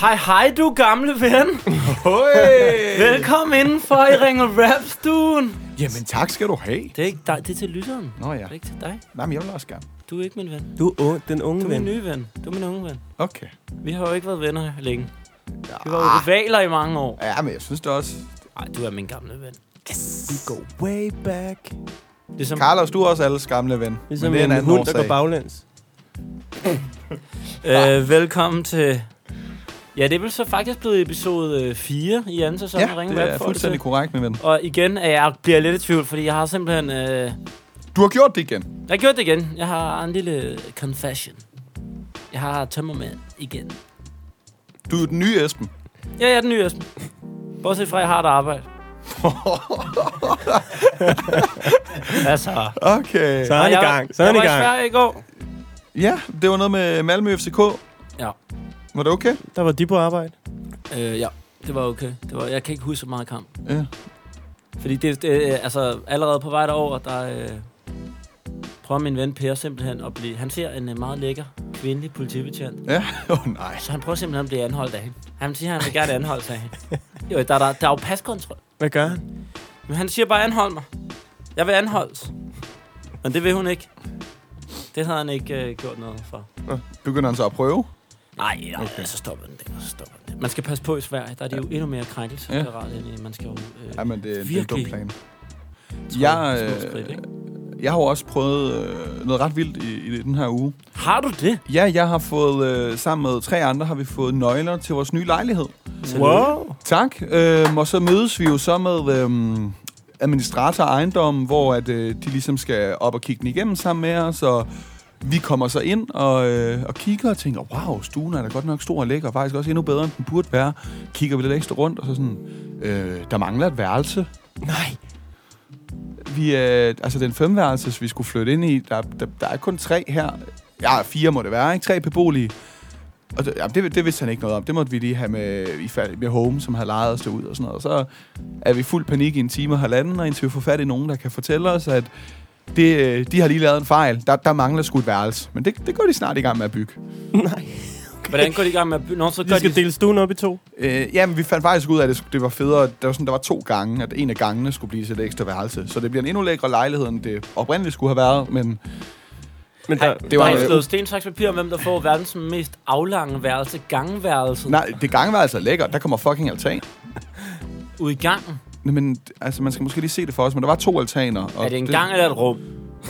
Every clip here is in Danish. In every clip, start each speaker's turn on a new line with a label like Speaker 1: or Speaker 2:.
Speaker 1: Hej hej du gamle ven.
Speaker 2: Høj!
Speaker 1: Velkommen indenfor i Ringer Rapstuen.
Speaker 2: Jamen tak skal du have.
Speaker 1: Det er ikke dig, det er til lytteren.
Speaker 2: Nå ja.
Speaker 1: Det er ikke til dig.
Speaker 2: Nej, men jeg vil også gerne.
Speaker 1: Du er ikke min ven.
Speaker 3: Du er un, den unge
Speaker 1: Du er min
Speaker 3: ven.
Speaker 1: nye ven. Du er min unge ven.
Speaker 2: Okay.
Speaker 1: Vi har jo ikke været venner længe. Vi var jo
Speaker 2: Ja,
Speaker 1: rivaler i mange år.
Speaker 2: Ah. ja men jeg synes det også.
Speaker 1: Nej, du er min gamle ven.
Speaker 3: Vi går way back.
Speaker 1: Ligesom,
Speaker 2: Carlos, du er også alles gamle ven.
Speaker 3: Ligesom
Speaker 2: men det er en,
Speaker 3: en
Speaker 2: anden
Speaker 3: hund, der går
Speaker 2: årsag.
Speaker 3: baglæns.
Speaker 1: øh, velkommen til... Ja, det er vel så faktisk blevet episode øh, 4 i anden sæson af
Speaker 2: Ja,
Speaker 1: Ringe
Speaker 2: det
Speaker 1: Rap, får
Speaker 2: er
Speaker 1: det til.
Speaker 2: fuldstændig korrekt, min ven.
Speaker 1: Og igen, øh, jeg bliver lidt i tvivl, fordi jeg har simpelthen... Øh,
Speaker 2: Du har gjort det igen.
Speaker 1: Jeg har gjort det igen. Jeg har en lille confession. Jeg har tømmermænd igen.
Speaker 2: Du er den nye Esben.
Speaker 1: Ja, jeg er den nye Esben. Bortset fra, at jeg har et arbejde. altså.
Speaker 2: Okay.
Speaker 3: Så er han
Speaker 1: jeg,
Speaker 3: i
Speaker 1: var-
Speaker 3: gang. Så er han
Speaker 1: jeg
Speaker 3: i
Speaker 1: var i
Speaker 3: gang.
Speaker 1: Sverige i går.
Speaker 2: Ja, det var noget med Malmø FCK.
Speaker 1: Ja.
Speaker 2: Var det okay?
Speaker 3: Der var de på arbejde.
Speaker 1: Øh, ja, det var okay. Det var, jeg kan ikke huske så meget kamp.
Speaker 2: Ja.
Speaker 1: Fordi det, det øh, altså, allerede på vej derover, der øh, prøver min ven Per simpelthen at blive... Han ser en øh, meget lækker kvindelig politibetjent.
Speaker 2: Ja, åh oh, nej.
Speaker 1: Så han prøver simpelthen at blive anholdt af hende. Han siger, at han vil gerne anholdes af hende. Jo, der, der, der er jo paskontrol.
Speaker 3: Hvad gør han?
Speaker 1: Men han siger bare, anhold mig. Jeg vil anholdes. Men det vil hun ikke. Det havde han ikke øh, gjort noget for.
Speaker 2: Begynder han så at prøve?
Speaker 1: Nej, okay. så stopper den der, så stopper den der. Man skal passe på i Sverige, der er det jo endnu mere krænkelse,
Speaker 2: Ja.
Speaker 1: ja. end i- man skal jo øh,
Speaker 2: Jamen, det, det er en dum
Speaker 1: Virkelig.
Speaker 2: plan.
Speaker 1: træde
Speaker 2: Jeg,
Speaker 1: små skridt,
Speaker 2: øh,
Speaker 1: ikke?
Speaker 2: jeg har jo også prøvet øh, noget ret vildt i, i den her uge.
Speaker 1: Har du det?
Speaker 2: Ja, jeg har fået, øh, sammen med tre andre, har vi fået nøgler til vores nye lejlighed.
Speaker 3: Wow.
Speaker 2: Tak. Øhm, og så mødes vi jo så med øhm, administrator af ejendommen, hvor at, øh, de ligesom skal op og kigge den igennem sammen med os, og vi kommer så ind og, øh, og kigger og tænker, wow, stuen er da godt nok stor og lækker, og faktisk også endnu bedre, end den burde være. Kigger vi lidt ekstra rundt, og så sådan, øh, der mangler et værelse.
Speaker 3: Nej.
Speaker 2: Vi, øh, altså den femværelses, vi skulle flytte ind i, der, der, der er kun tre her. Ja, fire må det være, ikke? Tre beboelige. Og det, jamen, det, det vidste han ikke noget om. Det måtte vi lige have med, i, fa- med Home, som havde lejet os derud og sådan noget. Og så er vi i fuld panik i en time og halvanden, og indtil vi får fat i nogen, der kan fortælle os, at det, øh, de har lige lavet en fejl. Der, der mangler sgu et værelse. Men det, det går de snart i gang med at bygge.
Speaker 3: Nej.
Speaker 1: Hvordan går de i gang med at bygge? Nå, så gør
Speaker 3: De skal
Speaker 1: de...
Speaker 3: dele stuen op i to.
Speaker 2: Øh, jamen, vi fandt faktisk ud af, at det, sk- det var federe. Der var, sådan, der var to gange, at en af gangene skulle blive til et ekstra værelse. Så det bliver en endnu lækre lejlighed, end det oprindeligt skulle have været. Men
Speaker 3: Men
Speaker 1: Hej,
Speaker 3: der,
Speaker 1: det
Speaker 2: det
Speaker 1: var
Speaker 2: var-
Speaker 1: der er slået sten, saks, papir om, hvem der får verdens mest aflange værelse, gangværelset,
Speaker 2: nej, det gangværelse er lækkert. Der kommer fucking altan.
Speaker 1: ude i gangen.
Speaker 2: Nej, Men altså, man skal måske lige se det for os, men der var to altaner. Og
Speaker 1: Er det en gang eller et rum?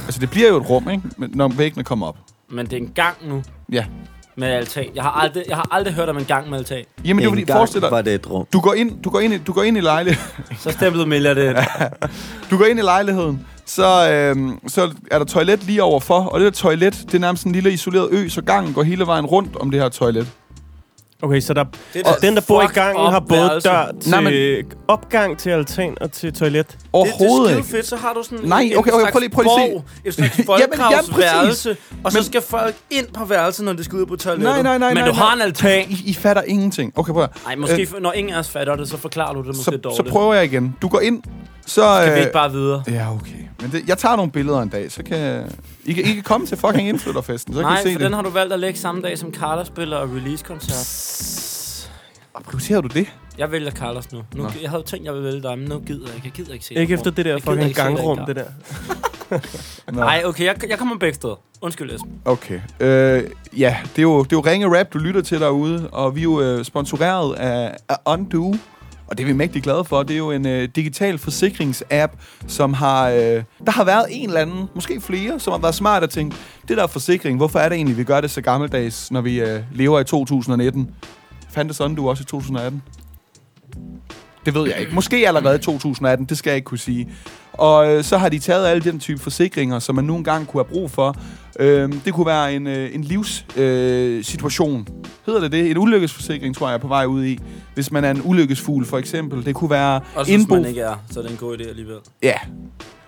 Speaker 2: Altså, det bliver jo et rum, ikke? Men Når væggene kommer op.
Speaker 1: Men det er en gang nu
Speaker 2: Ja.
Speaker 1: med altan. Jeg har aldrig, jeg har aldrig hørt om en gang med altan.
Speaker 2: Jamen, det er fordi,
Speaker 4: Engang
Speaker 2: forestil dig,
Speaker 4: var det et rum.
Speaker 2: du går ind, du går ind, i- du går ind i lejligheden.
Speaker 1: Så stemplede Milla det.
Speaker 2: Du går ind i lejligheden, så, øhm, så er der toilet lige overfor, og det der toilet, det er nærmest en lille isoleret ø, så gangen går hele vejen rundt om det her toilet.
Speaker 3: okay, så der,
Speaker 1: Det
Speaker 3: og den, der bor i
Speaker 1: fuck
Speaker 3: gangen,
Speaker 1: op altså.
Speaker 3: har både
Speaker 1: værelse.
Speaker 3: dør til
Speaker 2: Nej,
Speaker 3: Nej, men... opgang til altan og til toilet.
Speaker 2: Overhovedet
Speaker 1: det, det er
Speaker 2: ikke.
Speaker 1: skide fedt, så har du sådan
Speaker 2: Nej, okay, okay, prøv lige- prøv lige at se.
Speaker 1: se. et slags
Speaker 2: Jamen, jamen, præcis.
Speaker 1: folkegravsværelse, og så
Speaker 2: Men-
Speaker 1: skal folk ind på værelset, når de skal ud på toilettet.
Speaker 2: Nej, nej, nej,
Speaker 1: Men
Speaker 2: nej,
Speaker 1: du
Speaker 2: nej.
Speaker 1: har en altan.
Speaker 2: I, I fatter ingenting. Okay, prøv at-
Speaker 1: Nej, måske øh, når ingen af os fatter det, så forklarer du det måske
Speaker 2: så,
Speaker 1: dårligt.
Speaker 2: så prøver jeg igen. Du går ind, så...
Speaker 1: Skal vi
Speaker 2: øh,
Speaker 1: ikke bare videre?
Speaker 2: Ja, okay. Men det, jeg tager nogle billeder en dag, så kan... I kan, I kan komme til fucking indflytterfesten, så
Speaker 1: Nej,
Speaker 2: kan I
Speaker 1: for
Speaker 2: se
Speaker 1: den
Speaker 2: det.
Speaker 1: har du valgt at lægge samme dag, som Carlos spiller og release-koncert.
Speaker 2: Og Prioriterer du det?
Speaker 1: Jeg vælger Carlos nu. nu
Speaker 2: Nå.
Speaker 1: jeg havde tænkt, jeg ville vælge dig, men nu gider jeg ikke. Jeg gider ikke se
Speaker 3: Ikke efter det der
Speaker 1: Jeg gider
Speaker 3: fucking
Speaker 1: ikke se dig i
Speaker 3: gangrum,
Speaker 1: gang.
Speaker 3: det der.
Speaker 2: Nå.
Speaker 1: Nej, okay, jeg, jeg kommer begge steder. Undskyld, Esben.
Speaker 2: Okay. Øh, ja, det er, jo, det er jo Ringe Rap, du lytter til derude, og vi er jo øh, sponsoreret af, af Undo, og det er vi mægtig glade for. Det er jo en øh, digital forsikringsapp, som har... Øh, der har været en eller anden, måske flere, som har været smart og tænkt, det der forsikring, hvorfor er det egentlig, vi gør det så gammeldags, når vi øh, lever i 2019? Fandtes Undo også i 2018? Det ved jeg ikke. Måske allerede i 2018, det skal jeg ikke kunne sige. Og øh, så har de taget alle den type forsikringer, som man nu engang kunne have brug for. Øh, det kunne være en, øh, en livssituation. Øh, situation. Hedder det det? En ulykkesforsikring, tror jeg, er på vej ud i. Hvis man er en ulykkesfugl, for eksempel. Det kunne være
Speaker 1: Også hvis
Speaker 2: indbo.
Speaker 1: man ikke er, så er det en god idé alligevel.
Speaker 2: Ja.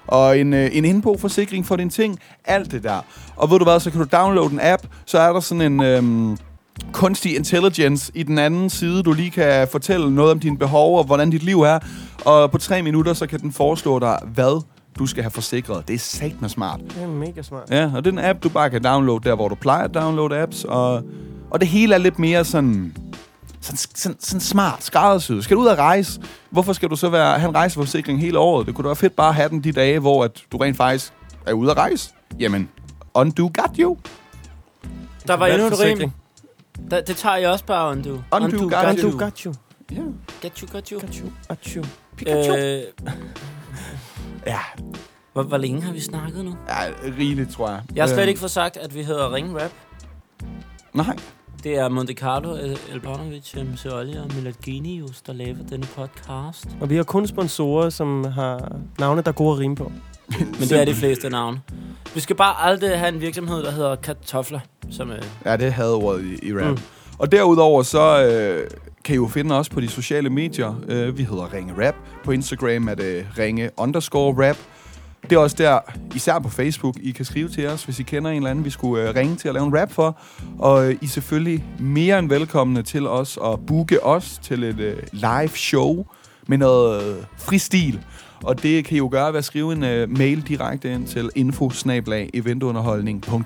Speaker 2: Og en, øh, en indboforsikring for dine ting. Alt det der. Og ved du hvad, så kan du downloade en app. Så er der sådan en øhm, kunstig intelligence i den anden side, du lige kan fortælle noget om dine behov og hvordan dit liv er. Og på tre minutter, så kan den foreslå dig, hvad du skal have forsikret. Det er satme smart.
Speaker 3: Det er mega smart.
Speaker 2: Ja, og det er en app, du bare kan downloade der, hvor du plejer at downloade apps. Og, og det hele er lidt mere sådan Sådan, sådan, sådan smart, skræddersyet. Skal du ud og rejse? Hvorfor skal du så være, have en rejseforsikring hele året? Det kunne da være fedt bare at have den de dage, hvor at du rent faktisk er ude at rejse. Jamen, undo got you.
Speaker 1: Der var
Speaker 3: Hvad er
Speaker 1: endnu et
Speaker 3: det for
Speaker 1: rim. Der, det tager jeg også bare, undo.
Speaker 2: Undo got
Speaker 3: Got
Speaker 2: you.
Speaker 3: you, got you,
Speaker 2: Ja.
Speaker 1: Got you, got you.
Speaker 3: got you, got you.
Speaker 1: Øh,
Speaker 2: Ja,
Speaker 1: hvor, hvor længe har vi snakket nu?
Speaker 2: ja rigeligt, tror jeg.
Speaker 1: Jeg har slet
Speaker 2: Øhm,
Speaker 1: ikke fået sagt, at vi hedder Ring Rap.
Speaker 2: Nej.
Speaker 1: Det er Monte Carlo, El- Elbanovic, MC Olli og Milad Genius, der laver denne podcast.
Speaker 3: Og vi har kun sponsorer, som har navne, der er gode at rime på.
Speaker 1: Men det er de fleste navne. Vi skal bare aldrig have en virksomhed, der hedder Kartofler, som øh,
Speaker 2: Ja, det havde ordet i, i rap.
Speaker 3: Mm.
Speaker 2: Mm. Og derudover så øh, kan I jo finde os på de sociale medier. Øh, vi hedder Ringe Rap. På Instagram er det Ringe underscore rap. Det er også der, især på Facebook, I kan skrive til os, hvis I kender en eller anden, vi skulle øh, ringe til at lave en rap for. Og øh, I er selvfølgelig mere end velkomne til os at booke os til et øh, live show med noget øh, fristil. Og det kan I jo gøre ved at skrive en øh, mail direkte ind til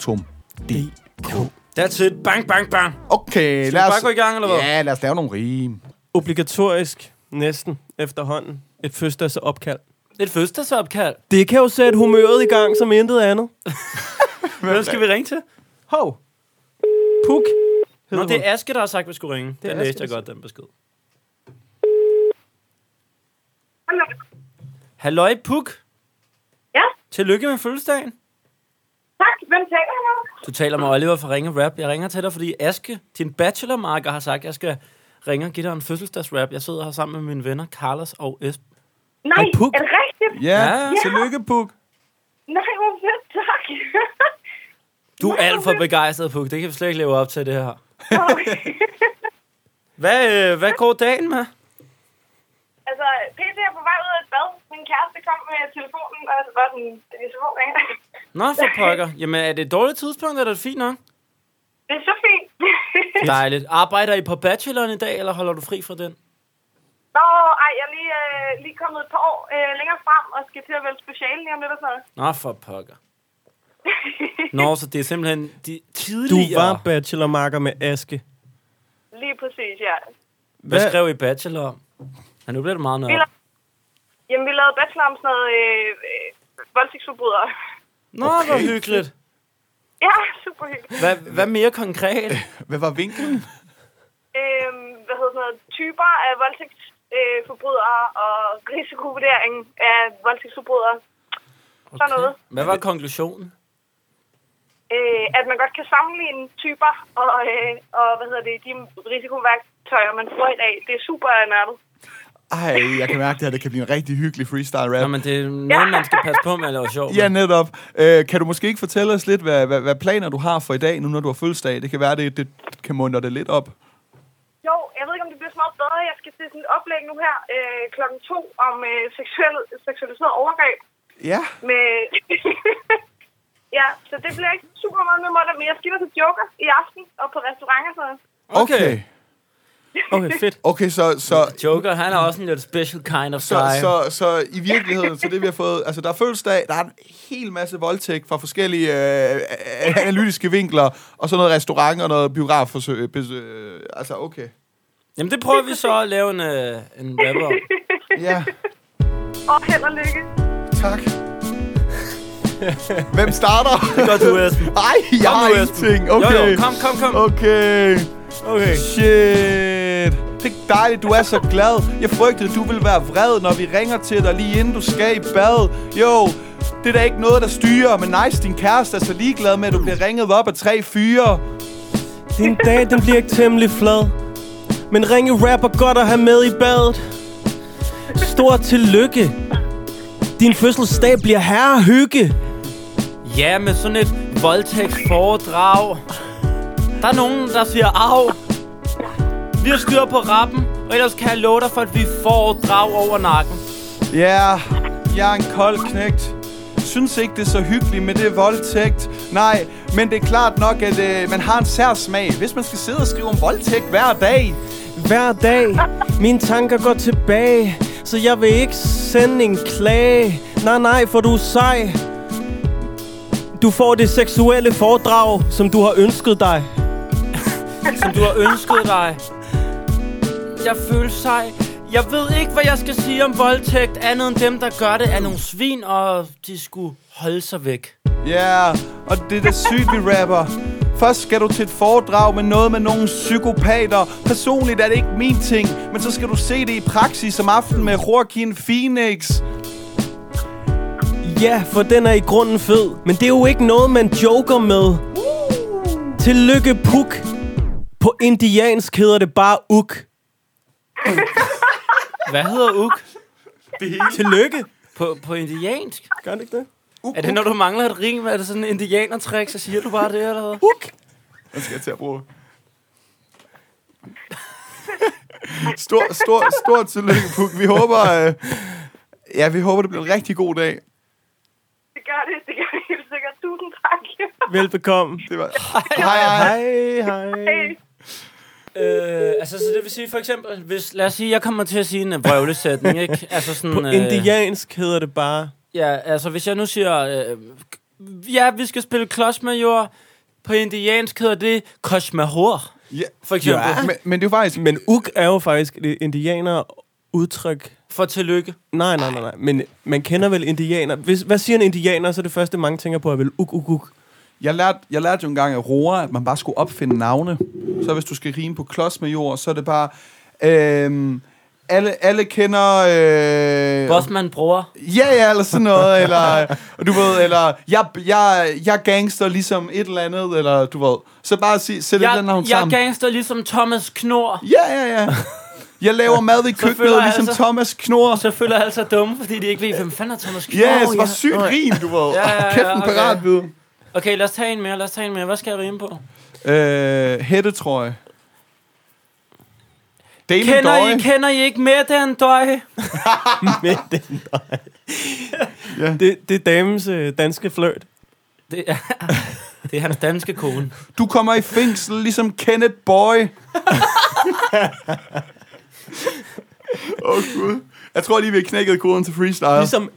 Speaker 2: infosnabelag.eventunderholdning.dk.
Speaker 1: That's it. Bang, bang, bang.
Speaker 2: Okay,
Speaker 1: Skal vi
Speaker 2: lad os...
Speaker 1: bare gå i gang, eller hvad?
Speaker 2: Ja, lad os lave nogle rim.
Speaker 3: Obligatorisk, næsten, efterhånden. Et fødselsdagsopkald.
Speaker 1: Et fødselsdagsopkald.
Speaker 3: Det kan jo sætte humøret i gang som intet andet.
Speaker 1: Hvem skal vi ringe til?
Speaker 3: Hov. Puk.
Speaker 1: Nå,
Speaker 3: hedder
Speaker 1: det
Speaker 3: hun.
Speaker 1: er Aske, der har sagt, vi skulle ringe.
Speaker 3: er
Speaker 1: Det den
Speaker 3: Aske,
Speaker 1: læste jeg
Speaker 3: der
Speaker 1: godt, den besked.
Speaker 5: Hallo.
Speaker 1: Halløj, Puk.
Speaker 5: Ja,
Speaker 1: Tillykke med fødselsdagen.
Speaker 5: tak. Hvem taler jeg med?
Speaker 1: Du taler med Oliver fra Ringe Rap. Jeg ringer til dig, fordi Aske, din bachelormarker, har sagt, at jeg skal ringe og give dig en fødselsdagsrap. Jeg sidder her sammen med mine venner, Carlos og Esben.
Speaker 5: Nej,
Speaker 1: Hej, Puk.
Speaker 5: er det rigtigt?
Speaker 2: Ja,
Speaker 1: Ja.
Speaker 2: ja. tillykke, Puk.
Speaker 5: Nej, hvor fedt, tak.
Speaker 1: Du er alt for begejstret, Puk. Det kan vi slet ikke leve op til, det her. Hvad, øh, hvad går dagen med?
Speaker 5: altså, PT er på vej ud af et bad. Min kæreste kom med telefonen, og så var den, det er så ring.
Speaker 1: Nå, for pokker. Jamen, er det et dårligt tidspunkt, eller er det fint nok?
Speaker 5: Det er så fint.
Speaker 1: Dejligt. Arbejder I på bacheloren i dag, eller holder du fri fra den?
Speaker 5: Nå, ej, jeg er lige, øh, lige kommet et par år øh, længere frem, og skal til at vælge specialen lige om lidt og sådan noget.
Speaker 1: Nå, for pokker. Nå, så det er simpelthen de tidligere...
Speaker 3: Du var bachelormarker med Aske.
Speaker 5: Lige præcis, ja.
Speaker 1: Hvad skrev I bachelor om? Ja, nu bliver det meget
Speaker 5: Vi
Speaker 1: nørdet.
Speaker 5: la- Jamen, vi lavede bachelor om sådan noget øh, øh, voldtægtsforbrydere.
Speaker 1: Nå, okay. hvor hyggeligt.
Speaker 5: Ja, super hyggeligt.
Speaker 1: Hvad, hvad mere konkret?
Speaker 2: Øh, Hvad var vinklen?
Speaker 5: øh, hvad hedder sådan noget, typer af voldtægtsforbrydere øh, forbrydere og risikovurdering af voldtægtsforbrydere. Okay. Sådan noget.
Speaker 1: Hvad var konklusionen?
Speaker 5: Øh, at man godt kan sammenligne typer og, øh, og hvad hedder det, de risikoværktøjer, man bruger i dag. Det er super nørdet.
Speaker 2: Ej, jeg kan mærke, det her det kan blive en rigtig hyggelig freestyle rap.
Speaker 1: Nå, men det er noget, man skal passe på med at lave sjov.
Speaker 2: Ja,
Speaker 1: med.
Speaker 2: netop. Øh, kan du måske ikke fortælle os lidt, hvad, hvad, hvad planer du har for i dag, nu når du har fødselsdag? Det kan være, det, det kan muntre det lidt op.
Speaker 5: Jo, jeg ved ikke, om det bliver så meget bedre. Jeg skal til sådan et oplæg nu her øh, klokken to om øh, seksuel, seksualiseret overgreb.
Speaker 2: Ja.
Speaker 5: Med ja, så det bliver ikke super meget med mig, men jeg skal ind og til Joker i aften og på restaurant og sådan noget.
Speaker 1: Okay.
Speaker 2: Okay,
Speaker 3: Okay, fedt.
Speaker 2: okay så, så,
Speaker 1: Joker, han er også en lidt special kind of
Speaker 2: så,
Speaker 1: guy.
Speaker 2: så, så, i virkeligheden, så det vi har fået... Altså, der er fødselsdag, der er en hel masse voldtægt fra forskellige øh, analytiske vinkler, og så noget restaurant og noget biografforsøg. besøg. Øh, altså, okay.
Speaker 1: Jamen, det prøver vi så at lave en, øh, en rapper om.
Speaker 2: Ja.
Speaker 5: Og held og lykke.
Speaker 2: Tak. Hvem starter?
Speaker 1: Gør du, Esben.
Speaker 2: Ej, jeg
Speaker 1: Kom
Speaker 2: har
Speaker 1: nu, Esben.
Speaker 2: ingenting. Okay.
Speaker 1: Jo, jo, kom, kom, kom.
Speaker 2: Okay.
Speaker 3: Okay.
Speaker 2: Shit. Det er dejligt, du er så glad. Jeg frygtede, du ville være vred, når vi ringer til dig lige inden du skal i bad. Jo, det er da ikke noget, der styrer, men nice, din kæreste er så ligeglad med, at du bliver ringet op af tre fyre.
Speaker 3: Din dag, den bliver ikke temmelig flad. Men ringe rapper godt at have med i badet. Stort tillykke. Din fødselsdag bliver herre hygge.
Speaker 1: Ja, med sådan et voldtægtsforedrag. Der er nogen, der siger af. Vi har styr på rappen, og ellers kan jeg love dig for, at vi får drag over nakken.
Speaker 2: Ja, yeah, jeg er en kold knægt. Synes ikke, det er så hyggeligt med det voldtægt. Nej, men det er klart nok, at øh, man har en sær smag, hvis man skal sidde og skrive om voldtægt hver dag.
Speaker 3: Hver dag, mine tanker går tilbage. Så jeg vil ikke sende en klage. Nej, nej, for du er sej. Du får det seksuelle foredrag, som du har ønsket dig.
Speaker 1: Som du har ønsket dig. jeg følte sej. Jeg ved ikke, hvad jeg skal sige om voldtægt, andet end dem, der gør det, er nogle svin, og de skulle holde sig væk.
Speaker 2: Ja, yeah, og det er da sygt, vi rapper. Først skal du til et foredrag med noget med nogle psykopater. Personligt er det ikke min ting, men så skal du se det i praksis om aftenen med Joaquin Phoenix.
Speaker 3: Ja, for den er i grunden fed. Men det er jo ikke noget, man joker med. Tillykke, Puk. På indiansk hedder det bare uk.
Speaker 1: Hvad hedder uk
Speaker 3: Tillykke.
Speaker 1: på, på indiansk?
Speaker 3: Gør det ikke det?
Speaker 1: Er det, når du mangler et rim? Er det sådan en indianertræk, så siger du bare det, eller hvad?
Speaker 3: Uk.
Speaker 2: Den skal jeg til at bruge. stor, stor, stor tillykke, Puk. Vi håber, øh, ja, vi håber, det bliver en rigtig god dag.
Speaker 4: Det gør det, det gør det helt sikkert. Tusind tak.
Speaker 3: Velbekomme.
Speaker 2: Det var... Hej, hej. hej.
Speaker 3: Hej, hej.
Speaker 4: Hey.
Speaker 1: Øh, altså, så det vil sige for eksempel, hvis, lad os sige, jeg kommer til at sige en øh, vrøvlesætning, ikke? Altså sådan...
Speaker 3: På indiansk hedder det bare...
Speaker 1: Ja, altså hvis jeg nu siger, øh, k- ja, vi skal spille klods med jord, på indiansk hedder det kosmahor,
Speaker 2: Ja.
Speaker 1: for eksempel. Ja.
Speaker 2: Men, men det er jo faktisk...
Speaker 3: Men uk er jo faktisk det indianer udtryk.
Speaker 1: For tillykke.
Speaker 3: Nej, nej, nej, nej. Men man kender vel indianer. Hvis, hvad siger en indianer, så er det første, mange tænker på, er vel uh, uk, uk, uk.
Speaker 2: Jeg lærte, jeg lærte jo engang af Roa, at man bare skulle opfinde navne. Så hvis du skal rime på klods med jord, så er det bare... Øhm, alle, alle kender... Øh,
Speaker 1: Bossman bror.
Speaker 2: Ja, ja, eller sådan noget, eller, og du ved, eller, jeg, jeg, jeg er gangster ligesom et eller andet, eller du ved. Så bare sig, sæt et
Speaker 1: Jeg,
Speaker 2: eller andet navn
Speaker 1: jeg er
Speaker 2: sammen.
Speaker 1: gangster ligesom Thomas Knor.
Speaker 2: Ja, ja, ja. Jeg laver mad i
Speaker 1: føler
Speaker 2: køkkenet,
Speaker 1: jeg
Speaker 2: ligesom
Speaker 1: altså-
Speaker 2: Thomas Knor.
Speaker 1: Så føler jeg altså dumme, fordi de ikke ved, hvem fanden er Thomas Knor.
Speaker 2: Ja, yes, var
Speaker 1: ja.
Speaker 2: sygt rim, du ved.
Speaker 1: Ja, ja, ja,
Speaker 2: Kæft en
Speaker 1: okay.
Speaker 2: parat viden.
Speaker 1: Okay, lad os tage en mere, lad os tage en mere. Hvad skal jeg rime på?
Speaker 2: Øh, hættetrøje. Daily
Speaker 1: Kender
Speaker 2: Døje.
Speaker 1: I, kender I ikke med den døje?
Speaker 3: Med den ja. det, det er damens øh, danske flørt.
Speaker 1: Det er, det er hans danske kone.
Speaker 2: Du kommer i fængsel, ligesom Kenneth Boy. Åh, oh, Gud. Jeg tror lige, vi har knækket koden til freestyle.
Speaker 3: Ligesom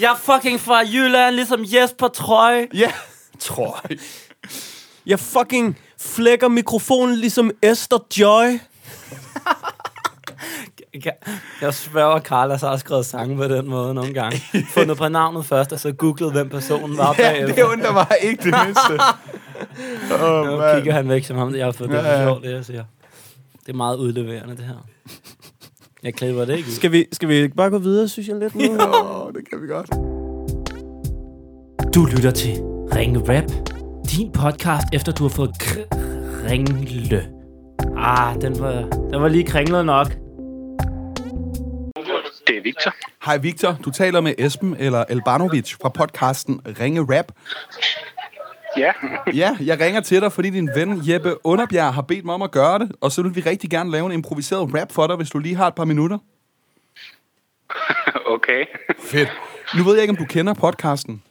Speaker 1: Jeg er fucking fra Jylland, ligesom Jesper Trøje.
Speaker 2: Ja, tror jeg.
Speaker 3: Jeg fucking flækker mikrofonen ligesom Esther Joy.
Speaker 1: Jeg, jeg sværger, Karl har også skrevet sange på den måde nogle gange. Fundet på navnet først, og så googlet, hvem personen var
Speaker 2: Ja, det
Speaker 1: bagefter.
Speaker 2: undrer mig ikke det mindste. Åh,
Speaker 1: Nu
Speaker 2: mand.
Speaker 1: kigger han væk som ham, jeg har fået det
Speaker 2: Ja, ja.
Speaker 1: er sjovt, det jeg siger. Det er meget udleverende, det her. Jeg klipper det ikke. ud.
Speaker 3: Skal vi, skal vi ikke bare gå videre, synes jeg lidt nu?
Speaker 2: Åh, det kan vi godt.
Speaker 1: Du lytter til Ringe Rap, din podcast, efter du har fået kr- ringle. Ah, den var, den var lige kringlet nok.
Speaker 6: Det er Victor.
Speaker 2: Hej Victor, du taler med Esben eller Elbanovic fra podcasten Ringe Rap.
Speaker 6: Ja,
Speaker 2: Ja, jeg ringer til dig, fordi din ven Jeppe Underbjerg har bedt mig om at gøre det, og så vil vi rigtig gerne lave en improviseret rap for dig, hvis du lige har et par minutter.
Speaker 6: okay.
Speaker 2: Fedt. Nu ved jeg ikke, om du kender podcasten.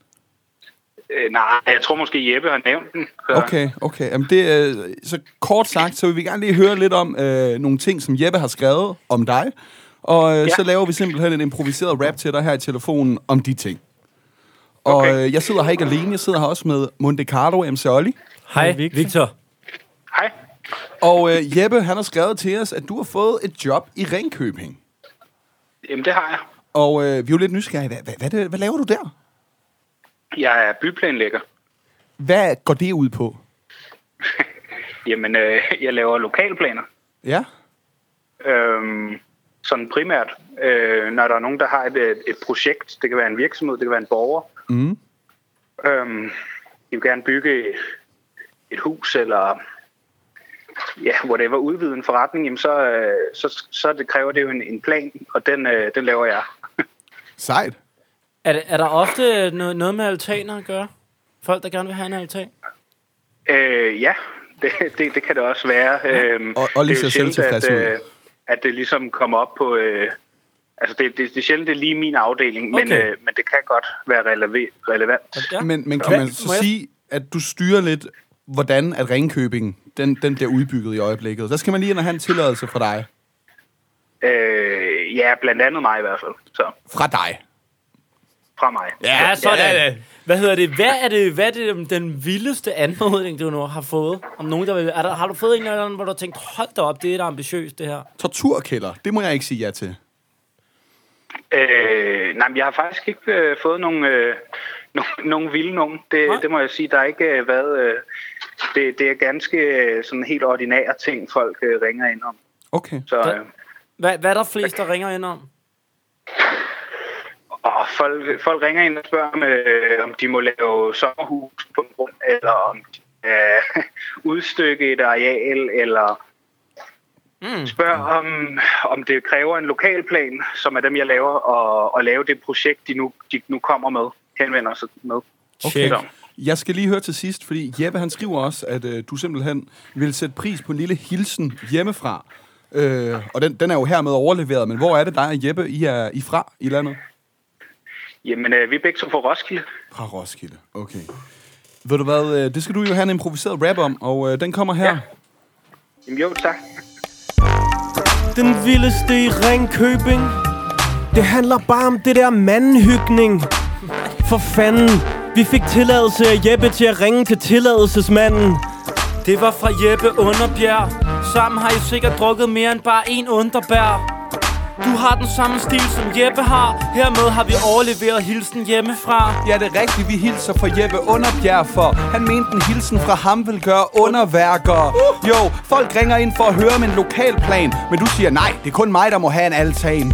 Speaker 6: Øh, nej, jeg tror måske Jeppe har nævnt den. Så.
Speaker 2: Okay, okay. Jamen det, øh, så kort sagt, så vil vi gerne lige høre lidt om øh, nogle ting, som Jeppe har skrevet om dig. Og øh, ja.
Speaker 6: Ja.
Speaker 2: så laver vi simpelthen en improviseret rap til dig her i telefonen om de ting. Og
Speaker 6: Okay.
Speaker 2: øh, jeg sidder her ikke alene, jeg sidder her også med Monte Carlo MC Olli.
Speaker 1: Hej, Victor.
Speaker 6: Hej.
Speaker 2: Og øh, Jeppe, han har skrevet til os, at du har fået et job i Ringkøbing.
Speaker 6: Jamen, det har jeg.
Speaker 2: Og øh, vi er jo lidt nysgerrige. Hvad, hvad, hvad, det- hvad laver du der?
Speaker 6: Jeg er byplanlægger.
Speaker 2: Hvad går det ud på?
Speaker 6: Jamen, øh, jeg laver lokalplaner.
Speaker 2: Ja?
Speaker 6: Øhm, sådan primært, øh, når der er nogen, der har et, øh, et projekt. Det kan være en virksomhed, det kan være en borger. Mm. Øhm, de vil gerne bygge et hus eller ja, whatever, udvide en forretning, jamen så, øh, så, så det kræver det jo en, en plan, og den, øh, den laver jeg.
Speaker 2: Sejt.
Speaker 1: Er, det- er der ofte noget, noget med altaner at gøre? Folk, der gerne vil have en altan?
Speaker 6: Øh, ja, det, det, det kan det også være. Øhm,
Speaker 2: og- og lige
Speaker 6: det er jo
Speaker 2: ser selv
Speaker 6: sjældent, at,
Speaker 2: tilfreds ud.
Speaker 6: øh, at det ligesom kommer op på... Øh, altså, det, det, det er sjældent, det er lige min afdeling, men,
Speaker 1: Okay.
Speaker 6: øh, men det kan godt være releve- relevant.
Speaker 1: Ja.
Speaker 2: Men, men kan
Speaker 1: Hvad-
Speaker 2: man så
Speaker 1: må jeg-
Speaker 2: sige, at du styrer lidt, hvordan at Ringkøbing den, den bliver udbygget i øjeblikket? Der skal man lige ind og have en tilladelse fra dig.
Speaker 6: Øh, ja, blandt andet mig i hvert fald. Så
Speaker 2: Fra dig.
Speaker 6: fra mig.
Speaker 1: Ja, sådan.
Speaker 2: Ja,
Speaker 1: Ja,
Speaker 2: ja.
Speaker 1: ja. Hvad hedder det? Hvad er det, hvad er det øhm, den vildeste anmodning, du nu har fået? Om nogen, der vil, er der, har du fået en eller anden, hvor du har tænkt, hold da op, det er da ambitiøst, det her?
Speaker 2: Torturkælder, det må jeg ikke sige ja til.
Speaker 6: Øh, nej, men jeg har faktisk ikke øh, fået nogen, øh, no- nogen vilde nogen.
Speaker 1: Nej.
Speaker 6: Det, det må jeg sige. Der er ikke øh, været... Øh, det, det er ganske øh, sådan helt ordinære ting, folk øh, ringer ind om.
Speaker 2: Okay.
Speaker 6: Så
Speaker 1: Hvad?
Speaker 6: øh,
Speaker 1: Hvad, hvad er der flest, der ringer ind om?
Speaker 6: og folk, folk ringer ind og spørger, om, øh, om de må lave sommerhus på en grund, eller om de øh, udstykke et areal, eller
Speaker 1: Mm.
Speaker 6: spørger, om, om det kræver en lokalplan, som er dem, jeg laver, og, og lave det projekt, de nu, de nu kommer med, henvender sig med.
Speaker 1: Okay.
Speaker 6: Så.
Speaker 2: Jeg skal lige høre til sidst, fordi Jeppe han skriver også, at øh, du simpelthen vil sætte pris på en lille hilsen hjemmefra. Øh, og den, den er jo hermed overleveret, men hvor er det dig og Jeppe, I er I er fra i landet?
Speaker 6: Jamen, øh, vi er begge to fra Roskilde.
Speaker 2: Fra Roskilde. Okay. Ved du hvad, øh, det skal du jo have en improviseret rap om, og øh, den kommer her.
Speaker 6: Ja. Jamen, jo, tak.
Speaker 3: Den vildeste i Ringkøbing Det handler bare om det der mandenhygning For fanden Vi fik tilladelse af Jeppe til at ringe til tilladelsesmanden
Speaker 1: Det var fra Jeppe Underbjerg. Sammen har I sikkert drukket mere end bare én underbær. Du har den samme stil, som Jeppe har. Hermed har vi overleveret hilsen hjemmefra.
Speaker 2: Ja, det er rigtigt. Vi hilser fra Jeppe Underbjerg, for han mente en hilsen fra ham vil gøre underværker. Jo, folk ringer ind for at høre om en lokalplan, men du siger nej, det er kun mig, der må have en altan.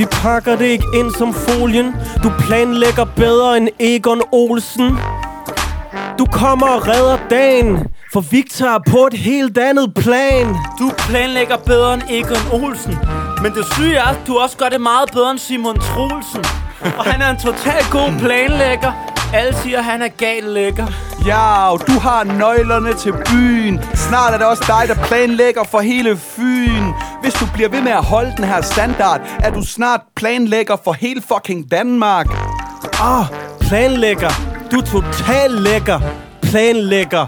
Speaker 3: Vi pakker det ikke ind som folien Du planlægger bedre end Egon Olsen Du kommer og redder dagen For Victor er på et helt andet plan
Speaker 1: Du planlægger bedre end Egon Olsen. Men det syge er, at du også gør det meget bedre end Simon Troelsen. Og han er en total god planlægger. Alle siger, at han er gal lækker.
Speaker 2: Ja, og du har nøglerne til byen. Snart er det også dig, der planlægger for hele Fyn. Hvis du bliver ved med at holde den her standard, er du snart planlægger for hele fucking Danmark. Ah,
Speaker 3: Åh, oh, planlægger. Du er total lækker. Planlægger.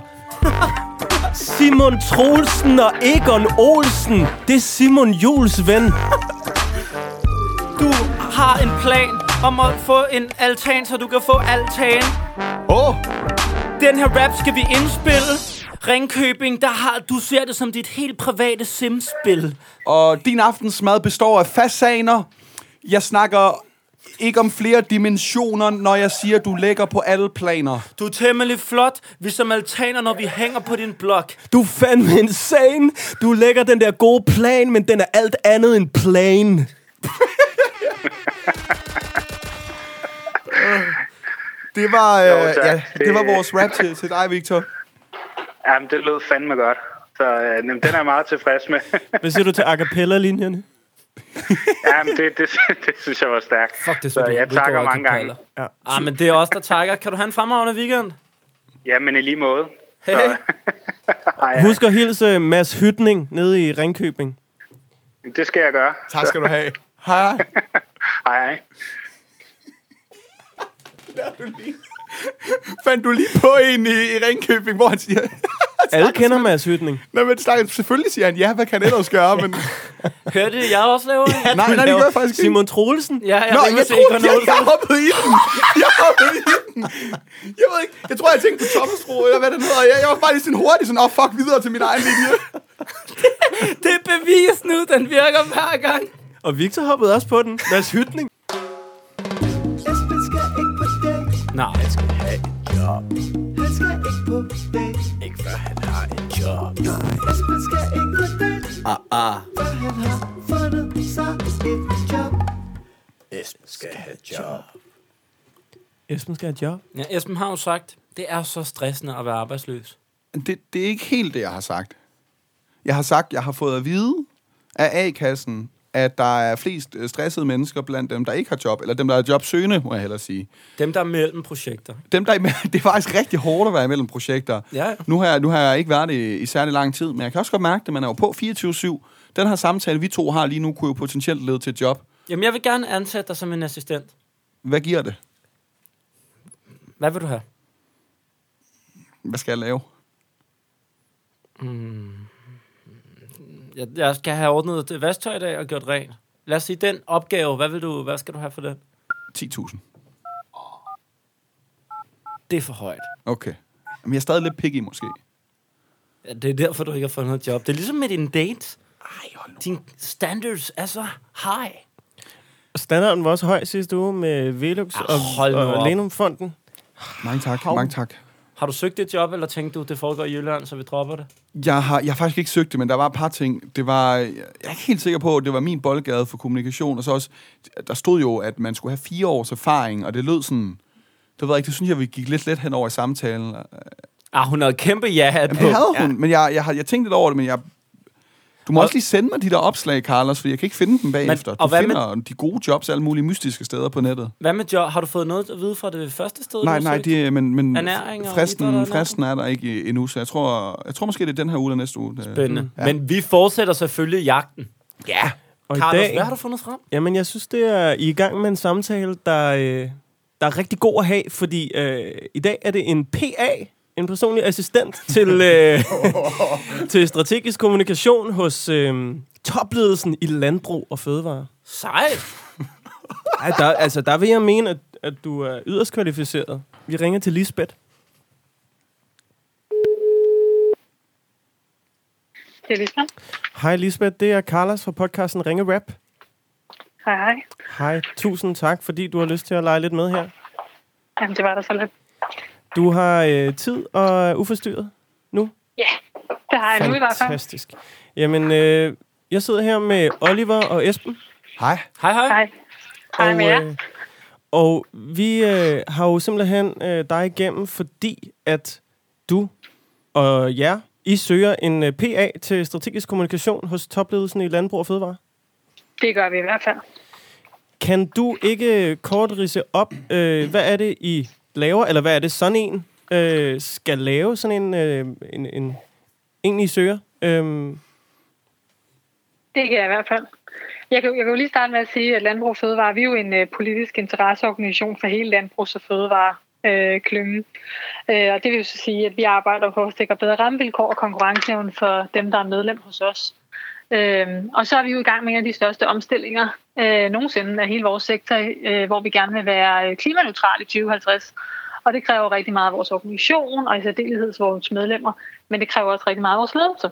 Speaker 3: Simon Troelsen og Egon Olsen. Det er Simon Jules ven.
Speaker 1: Du har en plan om at få en altan, så du kan få altan.
Speaker 2: Åh, oh,
Speaker 1: Den her rap skal vi indspille. Ringkøbing, der har, du ser det som dit helt private simspil.
Speaker 2: og din aftensmad består af fasaner. Jeg snakker ikke om flere dimensioner, når jeg siger, du lægger på alle planer.
Speaker 1: Du er temmelig flot, vi som altaner, når vi hænger på din blok.
Speaker 3: Du er fandme insane. Du lægger den der gode plan, men den er alt andet end plan.
Speaker 2: Det var, øh,
Speaker 6: Jo, tak.
Speaker 2: ja, det var
Speaker 6: Det-
Speaker 2: vores rap til, til dig, Victor.
Speaker 6: Jamen, det lød fandme godt. Så øh, jamen, den er jeg meget tilfreds med.
Speaker 3: Hvad siger du til a cappella-linjerne?
Speaker 6: Jamen, det, det, det synes jeg var stærkt. så jeg takker mange gange.
Speaker 1: Ja. Ah, men det er os, der takker. Kan du have en fremragende weekend?
Speaker 6: Jamen, i lige måde.
Speaker 1: Hey, hey.
Speaker 6: Så, Ej,
Speaker 3: Husk at hilse Mads Hytning nede i Ringkøbing.
Speaker 6: det skal jeg gøre.
Speaker 2: Tak skal du have. Hej.
Speaker 6: Hej, hej.
Speaker 2: Fandt du lige på en i, i Ringkøbing, hvor han siger...
Speaker 3: Alle kender Mads Hytning.
Speaker 2: Nej, men snakker, selvfølgelig siger han, ja, hvad kan han ellers gøre, men...
Speaker 1: Hørte det, jeg også laver det?
Speaker 2: nej, nej, det gør jeg faktisk ikke.
Speaker 3: Simon Troelsen?
Speaker 1: Ja, jeg
Speaker 2: Nå,
Speaker 1: ringer
Speaker 2: jeg
Speaker 1: til
Speaker 2: troede,
Speaker 1: Egon
Speaker 2: jeg,
Speaker 1: Olsen.
Speaker 2: jeg hoppede i den. Jeg hoppede i den. Jeg ved ikke, jeg tror, jeg tænkte på Thomas Ro, eller hvad den hedder. Jeg, jeg var bare lige sådan hurtigt sådan, åh, oh, fuck, videre til min egen linje.
Speaker 1: Det er bevis nu, den virker hver gang.
Speaker 3: Og Victor hoppede også på den. Mads Hytning.
Speaker 7: Esben skal ikke på date.
Speaker 1: Nej,
Speaker 7: Han skal ikke på date. Ikke før han har et job. Nej. Esben skal ikke på date. Ah, ah. Før han har fundet sig et job.
Speaker 3: Esben skal have et job.
Speaker 1: ja, Esben har jo sagt, det er så stressende at være arbejdsløs.
Speaker 2: Det, det er ikke helt det, jeg har sagt. Jeg har sagt, jeg har fået at vide af A-kassen, at der er flest øh, stressede mennesker blandt dem, der ikke har job, eller dem, der er jobsøgende, må jeg hellere sige.
Speaker 1: Dem, der er mellem projekter.
Speaker 2: dem, der er imellem, det er faktisk rigtig hårdt at være imellem projekter.
Speaker 1: Ja, ja.
Speaker 2: Nu, har jeg, nu har jeg ikke været det i, i særlig lang tid, men jeg kan også godt mærke det. Man er jo på 24-7. Den her samtale, vi to har lige nu, kunne jo potentielt lede til et job.
Speaker 1: Jamen, jeg vil gerne ansætte dig som en assistent.
Speaker 2: Hvad giver det?
Speaker 1: Hvad vil du have?
Speaker 2: Hvad skal jeg lave?
Speaker 1: Mm. Jeg, jeg skal have ordnet det vasktøj i dag og gjort rent. Lad os sige, den opgave, hvad, vil du, hvad skal du have for den?
Speaker 2: 10.000.
Speaker 1: det er for højt.
Speaker 2: Okay. Men jeg er stadig lidt picky, måske.
Speaker 1: Ja, Det er derfor, du ikke har fundet noget job. Det er ligesom med din date. Din standards er så high.
Speaker 3: Standarden var også høj sidste uge med Velux
Speaker 1: Ah,
Speaker 3: og,
Speaker 1: hold nu op.
Speaker 3: og Lenumfonden.
Speaker 2: Mange tak, mange tak.
Speaker 1: Har du søgt et job, eller tænkte du, det foregår i Jylland, så vi dropper det?
Speaker 2: Jeg har, jeg har faktisk ikke søgt det, men der var et par ting. Det var, jeg er ikke helt sikker på, at det var min boldgade for kommunikation. Og så også, der stod jo, at man skulle have fire års erfaring, og det lød sådan... Det ved jeg ikke, det synes jeg, vi gik lidt let hen over i samtalen.
Speaker 1: Ah, hun havde et kæmpe ja på.
Speaker 2: Det havde hun, men jeg, jeg, har- jeg tænkte lidt over det, men jeg... Du må også lige sende mig de der opslag, Carlos, for jeg kan ikke finde dem bagefter. Men,
Speaker 1: og
Speaker 2: og du
Speaker 1: hvad med-
Speaker 2: finder de gode jobs alle mulige mystiske steder på nettet.
Speaker 1: Hvad med job? Har du fået noget at vide fra det første sted,
Speaker 2: Nej,
Speaker 1: du
Speaker 2: nej,
Speaker 1: søgte?
Speaker 2: det, men, men
Speaker 1: Ernæring og idræt og
Speaker 2: fristen,
Speaker 1: ernæring?
Speaker 2: fristen er der ikke endnu, så jeg tror, jeg tror måske, det er den her uge eller næste uge. det- Mm.
Speaker 1: Spændende. Ja. Men vi fortsætter selvfølgelig jagten. Ja.
Speaker 3: Og
Speaker 1: Og Carlos,
Speaker 3: i dag,
Speaker 1: hvad har du fundet frem?
Speaker 3: Jamen, jeg synes, det er I er i gang med en samtale, der, øh, der er rigtig god at have, fordi øh, i dag er det en PA, en personlig assistent til, øh, til strategisk kommunikation hos øh, topledelsen i Landbrug og Fødevare.
Speaker 1: Sejt.
Speaker 3: Ej, der, altså, der vil jeg mene, at, at du er yderst kvalificeret. Vi ringer til Lisbeth.
Speaker 4: Det er ligesom.
Speaker 3: Hej Lisbeth, det er Carlos fra podcasten Ringe Rap.
Speaker 4: Hej, hej.
Speaker 3: Hej, tusind tak, fordi du har lyst til at lege lidt med her.
Speaker 4: Jamen, det var da så lidt.
Speaker 3: Du har øh, tid og er uforstyrret nu.
Speaker 4: Ja, det har jeg nu i hvert fald.
Speaker 3: Fantastisk. Jamen, øh, jeg sidder her med Oliver og Esben.
Speaker 2: Hej.
Speaker 1: Hej, hej.
Speaker 4: Hej. Hej med
Speaker 3: og,
Speaker 4: jer.
Speaker 3: øh, og vi øh, har jo simpelthen øh, dig igennem, fordi at du og jer, I søger en øh, PA til strategisk kommunikation hos topledelsen i Landbrug og Fødevare.
Speaker 4: Det gør vi i hvert fald.
Speaker 3: Kan du ikke kort rise op, øh, hvad er det, I laver, eller hvad er det, sådan en øh, skal lave, sådan en, øh, en, en, en I søger? Øhm,
Speaker 4: Det kan jeg i hvert fald. Jeg kan, jeg kan jo lige starte med at sige, at Landbrug og Fødevare, vi er jo en øh, politisk interesseorganisation for hele Landbrugs- og Fødevare. Øh, klyngen. Øh, og det vil jo så sige, at vi arbejder på at sikre bedre rammevilkår og konkurrenceevne for dem, der er medlem hos os. Øh, og så er vi jo i gang med en af de største omstillinger øh, nogensinde af hele vores sektor, øh, hvor vi gerne vil være øh, klimaneutral i 2050. Og det kræver rigtig meget af vores organisation og i særdeleshed vores medlemmer, men det kræver også rigtig meget af vores ledelse.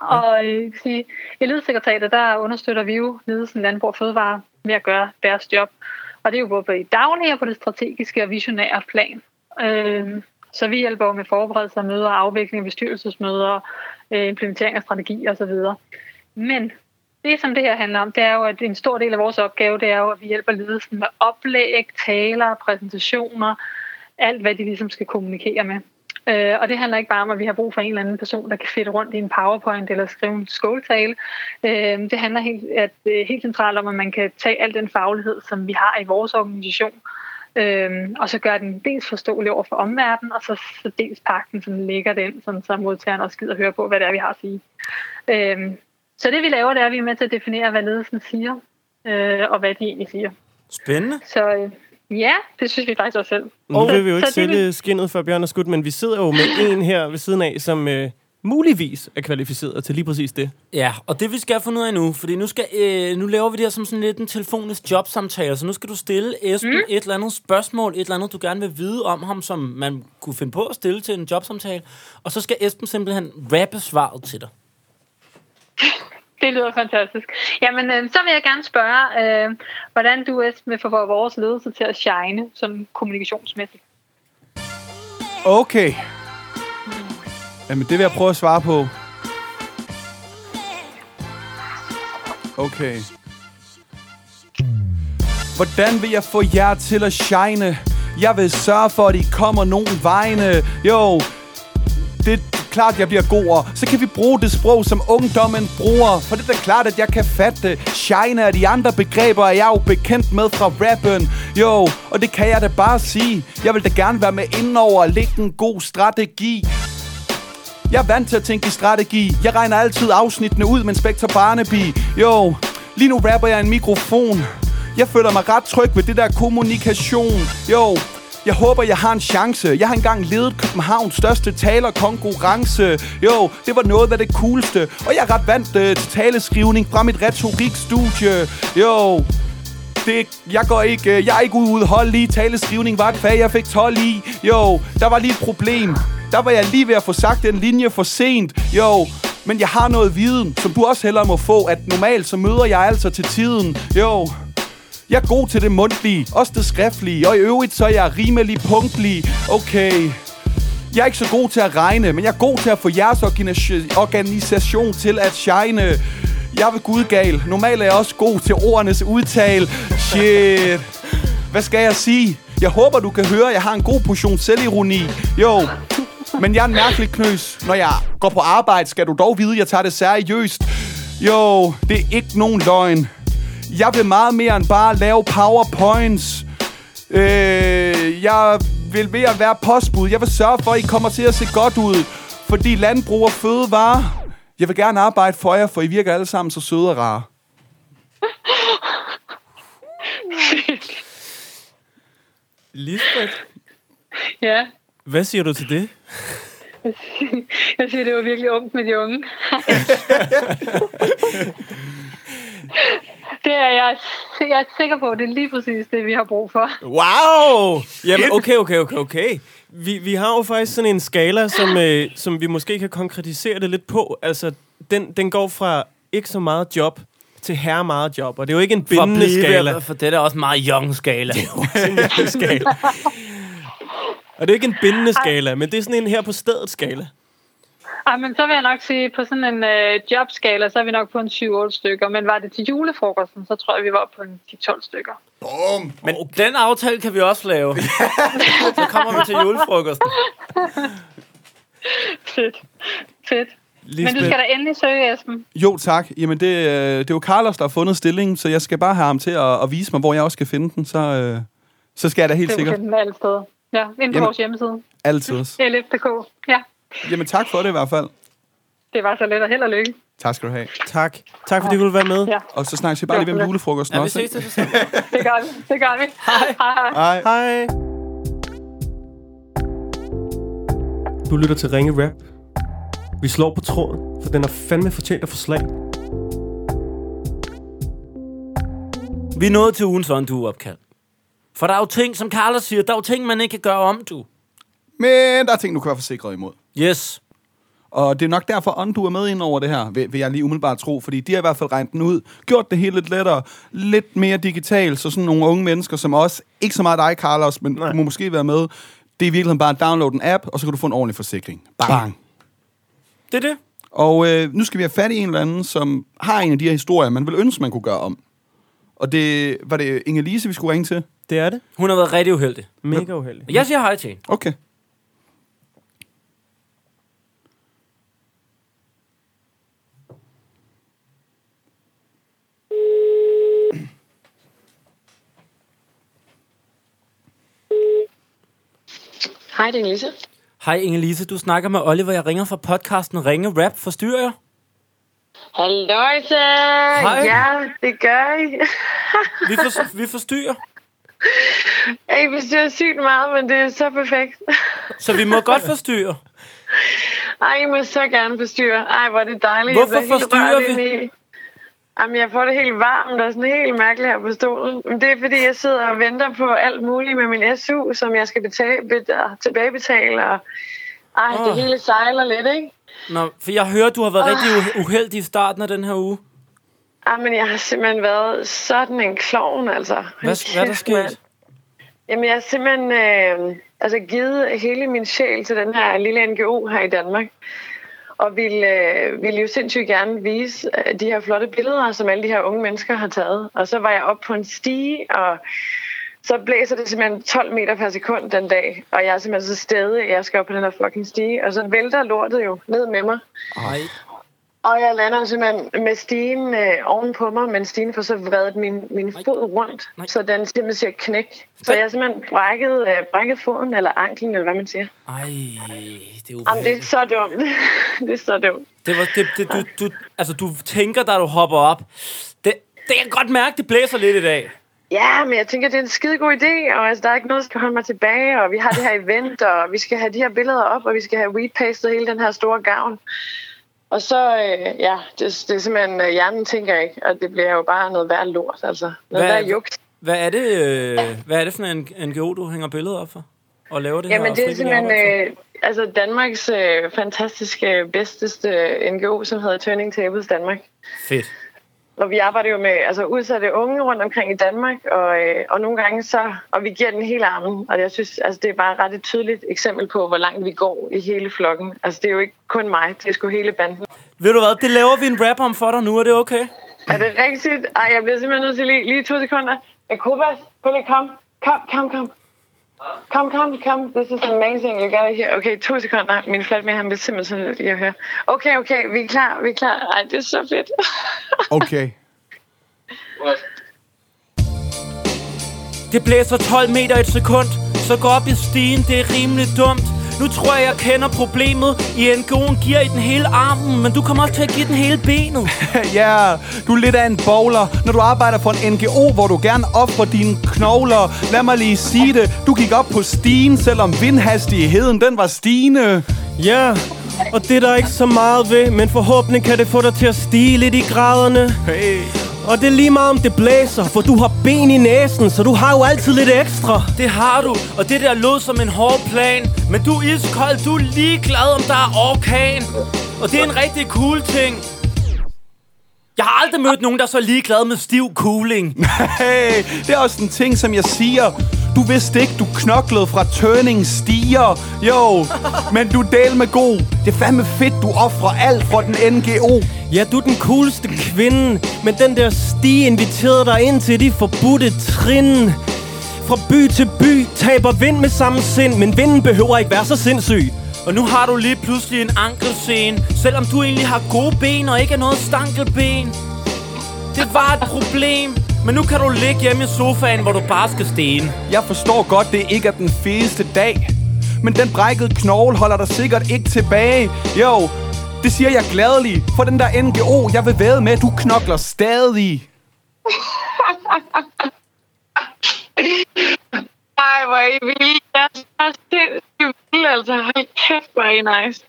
Speaker 4: Og øh, jeg kan sige, i ledelsesekretariatet, der understøtter vi jo ledelsen Landbrug og Fødevare med at gøre deres job. Og det er jo både i daglig og på det strategiske og visionære plan. Øh, så vi hjælper jo med forberedelse af møder, afvikling af bestyrelsesmøder, øh, implementering af strategi osv. Men det, som det her handler om, det er jo, at en stor del af vores opgave, det er jo, at vi hjælper ledelsen med oplæg, taler, præsentationer, alt hvad de ligesom skal kommunikere med. Øh, og det handler ikke bare om, at vi har brug for en eller anden person, der kan fedte rundt i en powerpoint eller skrive en skåltale. Øh, det handler helt, at, øh, helt centralt om, at man kan tage al den faglighed, som vi har i vores organisation, øh, og så gøre den dels forståelig over for omverdenen, og så, så dels pakke den, sådan ligger den, sådan, så modtageren også gider høre på, hvad det er, vi har at sige. Øh, så det vi laver, det er, at vi er med til at definere, hvad ledelsen siger, øh, og hvad de egentlig siger.
Speaker 1: Spændende.
Speaker 4: Så øh, ja, det synes vi faktisk også selv.
Speaker 3: nu vil vi jo
Speaker 4: så
Speaker 3: ikke
Speaker 4: det vil-
Speaker 3: sælge skinnet for Bjørn og Skud, men vi sidder jo med en her ved siden af, som øh, muligvis er kvalificeret til lige præcis det.
Speaker 1: Ja, og det vi skal finde ud af nu, fordi nu, skal, øh, nu laver vi det her som sådan lidt en telefonisk jobsamtale, så nu skal du stille Esben mm. et eller andet spørgsmål, et eller andet, du gerne vil vide om ham, som man kunne finde på at stille til en jobsamtale, og så skal Esben simpelthen rappe svaret til dig.
Speaker 4: Det lyder fantastisk. Jamen, øh, så vil jeg gerne spørge, øh, hvordan du Esben, vil få vores ledelse til at shine sådan kommunikationsmæssigt.
Speaker 2: Okay. Jamen, det vil jeg prøve at svare på. Okay. Hvordan vil jeg få jer til at shine? Jeg vil sørge for, at I kommer nogen vegne. Jo, det er klart, jeg bliver god, og så kan vi bruge det sprog, som ungdommen bruger. For det er da klart, at jeg kan fatte det. Shine og de andre begreber er jeg jo bekendt med fra rappen. Jo, og det kan jeg da bare sige. Jeg vil da gerne være med indover og lægge en god strategi. Jeg er vant til at tænke i strategi. Jeg regner altid afsnittene ud med Inspektor Barnaby. Jo, lige nu rapper jeg i en mikrofon. Jeg føler mig ret tryg ved det der kommunikation. Jo, jeg håber, jeg har en chance. Jeg har engang ledet Københavns største talerkonkurrence. Jo, det var noget af det coolste. Og jeg er ret vant øh, til taleskrivning fra mit retorikstudie. Jo, Det, jeg går ikke, øh, jeg er ikke ude hold lige. Taleskrivning var et fag, jeg fik 12 i. Jo, der var lige et problem. Der var jeg lige ved at få sagt den linje for sent. Jo, men jeg har noget viden, som du også hellere må få, at normalt så møder jeg altså til tiden. Jo, jeg er god til det mundtlige, også det skriftlige, og i øvrigt så er jeg rimelig punktlig. Okay, jeg er ikke så god til at regne, men jeg er god til at få jeres organis- organisation til at shine. Jeg vil gud gal. Normalt er jeg også god til ordenes udtale. Shit. Hvad skal jeg sige? Jeg håber, du kan høre, at jeg har en god portion selvironi. Jo, men jeg er en mærkelig knøs. Når jeg går på arbejde, skal du dog vide, at jeg tager det seriøst. Jo, det er ikke nogen løgn. Jeg vil meget mere end bare lave powerpoints. Øh, jeg vil mere være postbud. Jeg vil sørge for, at I kommer til at se godt ud. Fordi landbrug og fødevare... Jeg vil gerne arbejde for jer, for I virker alle sammen så søde og rare.
Speaker 3: Lisbeth,
Speaker 4: Ja,
Speaker 3: hvad siger du til det?
Speaker 4: jeg siger, det var virkelig ungt med de unge. det er jeg, jeg er sikker på, det er lige præcis det, vi har brug for.
Speaker 3: Wow! Jamen, okay, okay, okay, okay. Vi, vi har jo faktisk sådan en skala, som, øh, som vi måske kan konkretisere det lidt på. Altså, den, den går fra ikke så meget job til herre meget job, og det er jo ikke en
Speaker 1: For,
Speaker 3: bindende skala.
Speaker 1: blive, for det er også meget young skala.
Speaker 3: bindende skala. Og det er ikke en bindende skala, men det er sådan en her på stedet skala.
Speaker 4: Ej, men så vil jeg nok sige, på sådan en øh, jobskala, så er vi nok på en 7-8 stykker. Men var det til julefrokosten, så tror jeg, vi var på en 10-12 stykker.
Speaker 1: Men okay. den aftale kan vi også lave. Så kommer vi til julefrokosten.
Speaker 4: Fedt. Fedt. Men
Speaker 3: Lisbeth,
Speaker 4: du skal da endelig søge, Esben.
Speaker 2: Jo, tak. Jamen, det, øh, det er jo Carlos, der har fundet stillingen, så jeg skal bare have ham til at, at vise mig, hvor jeg også skal finde den. Så, øh, så skal jeg da helt
Speaker 4: Det kan
Speaker 2: sikkert.
Speaker 4: den alle steder. Ja, ind på
Speaker 2: Jamen.
Speaker 4: vores hjemmeside.
Speaker 2: Altid.
Speaker 4: LF.dk. Ja,
Speaker 2: Jamen, tak for det i hvert fald.
Speaker 4: det var så let og held og lykke.
Speaker 2: Tak skal du have.
Speaker 3: tak. Tak fordi du ville være med.
Speaker 4: Ja.
Speaker 2: Og så snakkes vi bare lige ved om julefrokosten
Speaker 1: Ja, vi
Speaker 2: også.
Speaker 1: ses
Speaker 2: ikke?
Speaker 1: til det
Speaker 4: Det gør vi. Det gør vi. Hej. Hej, hej.
Speaker 2: Hej.
Speaker 3: Hej. Du lytter til Ringe Rap. Vi slår på tråden, for den har fandme fortjent at få slag.
Speaker 1: Vi er nået til ugens åndu-opkald. For der er jo ting, som Carlos siger, der er jo ting, man ikke kan gøre om, du.
Speaker 2: Men der er ting, du kan være forsikret imod.
Speaker 1: Yes.
Speaker 2: Og det er nok derfor, Ondu er med ind over det her, vil, vil jeg lige umiddelbart tro, fordi de har i hvert fald regnet den ud, gjort det hele lidt lettere, lidt mere digitalt, så sådan nogle unge mennesker som os, ikke så meget dig, Carlos, men Nej. du må måske være med, det er i virkeligheden bare at downloade en app, og så kan du få en ordentlig forsikring. Bang! Bang.
Speaker 1: Det er det.
Speaker 2: Og øh, nu skal vi have fat i en eller anden, som har en af de her historier, man vil ønske, man kunne gøre om. Og det var det Inge-Lise, vi skulle ringe til?
Speaker 3: Det er det.
Speaker 1: Hun har været rigtig uheldig.
Speaker 3: Mega uheldigt.
Speaker 1: Jeg siger hej til hende.
Speaker 2: Okay.
Speaker 8: Hej, det er Nisse.
Speaker 1: Hej Inge-Lise, du snakker med Oliver. Jeg ringer fra podcasten Ringe Rap. Forstyrrer jeg?
Speaker 8: Halløjse!
Speaker 1: Hej.
Speaker 8: Ja, det gør I.
Speaker 1: Vi, for, vi forstyrrer.
Speaker 8: I bestyrer sygt meget, men det er så perfekt.
Speaker 1: Så vi må godt forstyrre.
Speaker 8: Ej, I må så gerne forstyrre. Ej, hvor er det dejligt.
Speaker 1: Hvorfor
Speaker 8: Jeg bliver helt
Speaker 1: forstyrrer
Speaker 8: rørt
Speaker 1: vi?
Speaker 8: indeni. Jamen, jeg får det helt varmt og sådan helt mærkeligt her på stolen. Men det er, fordi jeg sidder og venter på alt muligt med min SU, som jeg skal betale, bet- tilbagebetale. Og... Ej,
Speaker 1: Åh.
Speaker 8: det hele sejler lidt, ikke?
Speaker 1: Nå, for jeg hører, du har været rigtig
Speaker 8: Ah.
Speaker 1: u- uheldig i starten af den her uge.
Speaker 8: Ej, men jeg har simpelthen været sådan en klovn, altså.
Speaker 1: Hvad, hvad er der
Speaker 8: Kæft, mand.
Speaker 1: sket?
Speaker 8: Jamen, jeg har simpelthen øh, altså, givet hele min sjæl til den her lille NGO her i Danmark. Og ville, øh, ville jo sindssygt gerne vise øh, de her flotte billeder, som alle de her unge mennesker har taget. Og så var jeg oppe på en stige, og så blæser det simpelthen 12 meter per sekund den dag. Og jeg er simpelthen så stedig, at jeg skal op på den her fucking stige. Og så vælter lortet jo ned med mig.
Speaker 1: Nej.
Speaker 8: Og jeg lander simpelthen med stigen øh, oven på mig, men stigen får så vredet min, min fod rundt,
Speaker 1: Nej.
Speaker 8: Nej. så den simpelthen siger knæk. Så jeg har simpelthen brækket, øh, brækket foden, eller anklen, eller hvad man siger.
Speaker 1: Ej, det er
Speaker 8: Jamen, det er
Speaker 1: uheldigt.
Speaker 8: så dumt. det er så dumt.
Speaker 1: Det var, det, det, du, du, altså, du tænker, da du hopper op. Det, det kan jeg godt mærke, det blæser lidt i dag.
Speaker 8: Ja, men jeg tænker, det er en skide god idé, og altså, der er ikke noget, der skal holde mig tilbage, og vi har det her event, og vi skal have de her billeder op, og vi skal have repastet hele den her store gavn. Og så, øh, ja, det, det er simpelthen, øh, hjernen tænker ikke, og det bliver jo bare noget værd lort, altså. Noget
Speaker 1: Hvad-
Speaker 8: værd juks.
Speaker 1: Hvad er det, øh, hvad er det for en NGO, du hænger billeder op for? Og laver det
Speaker 8: Jamen
Speaker 1: her
Speaker 8: det er
Speaker 1: frivillige
Speaker 8: simpelthen
Speaker 1: arbejde
Speaker 8: øh, altså Danmarks øh, fantastiske, øh, bedsteste NGO, som hedder Turning Tables Danmark.
Speaker 1: for? Fedt.
Speaker 8: Og vi arbejder jo med altså, udsatte unge rundt omkring i Danmark, og, øh, og nogle gange så, og vi giver den hele armen, og jeg synes, altså, det er bare ret et tydeligt eksempel på, hvor langt vi går i hele flokken. Altså det er jo ikke kun mig, det er sgu hele banden.
Speaker 1: Ved du hvad, det laver vi en rap om for dig nu, er det okay?
Speaker 8: Er det rigtigt? Ej, jeg bliver simpelthen nødt til lige, lige to sekunder. Kubas, prøv lige, kom. Kom, kom, kom. Kom, kom, kom. This is amazing. You gotta hear. Okay, to sekunder. Min flatmate, han vil simpelthen så nødt til lige at høre. Okay, okay, vi er klar, vi er klar. Ej, det er så fedt.
Speaker 2: Okay.
Speaker 1: Det blæser 12 meter et sekund, så gå op i stigen, det er rimelig dumt. Nu tror jeg, jeg kender problemet. I NGO'en giver I den hele armen, men du kommer også til at give den hele benet.
Speaker 2: Ja, yeah, du er lidt af en bowler, når du arbejder for en NGO, hvor du gerne offrer dine knogler. Lad mig lige sige det. Du gik op på stigen, selvom vindhastigheden den var stigende.
Speaker 3: Ja, og det er der ikke så meget ved, men forhåbentlig kan det få dig til at stige lidt i graderne.
Speaker 2: Hey.
Speaker 3: Og det er lige meget om det blæser, for du har ben i næsen, så du har jo altid lidt ekstra.
Speaker 1: Det har du, og det der lød som en hård plan. Men du er iskold, du er ligeglad, om der er orkan. Og det er en rigtig cool ting. Jeg har aldrig mødt nogen, der er så ligeglad med stiv cooling.
Speaker 2: Hey, det er også en ting, som jeg siger. Du vidste ikke, du knoklede fra turning stiger. Jo, men du del med god. Det er fandme fedt, du offrer alt for den NGO.
Speaker 3: Ja, du er den cooleste kvinde, men den der stige inviterede dig ind til de forbudte trin. Fra by til by taber vind med samme sind, men vinden behøver ikke være så sindssyg.
Speaker 1: Og nu har du lige pludselig en ankelscene Selvom du egentlig har gode ben og ikke er noget stankelben Det var et problem Men nu kan du ligge hjemme i sofaen, hvor du bare skal stene
Speaker 2: Jeg forstår godt, det ikke er den fedeste dag. Men den brækkede knogle holder dig sikkert ikke tilbage. Jo, det siger jeg gladelig. For den der NGO, jeg vil være med, du knokler stadig.
Speaker 8: Ej, hvor er I vilde. Jeg er så sindssygt vilde, altså. Hold kæft, hvor er I nice.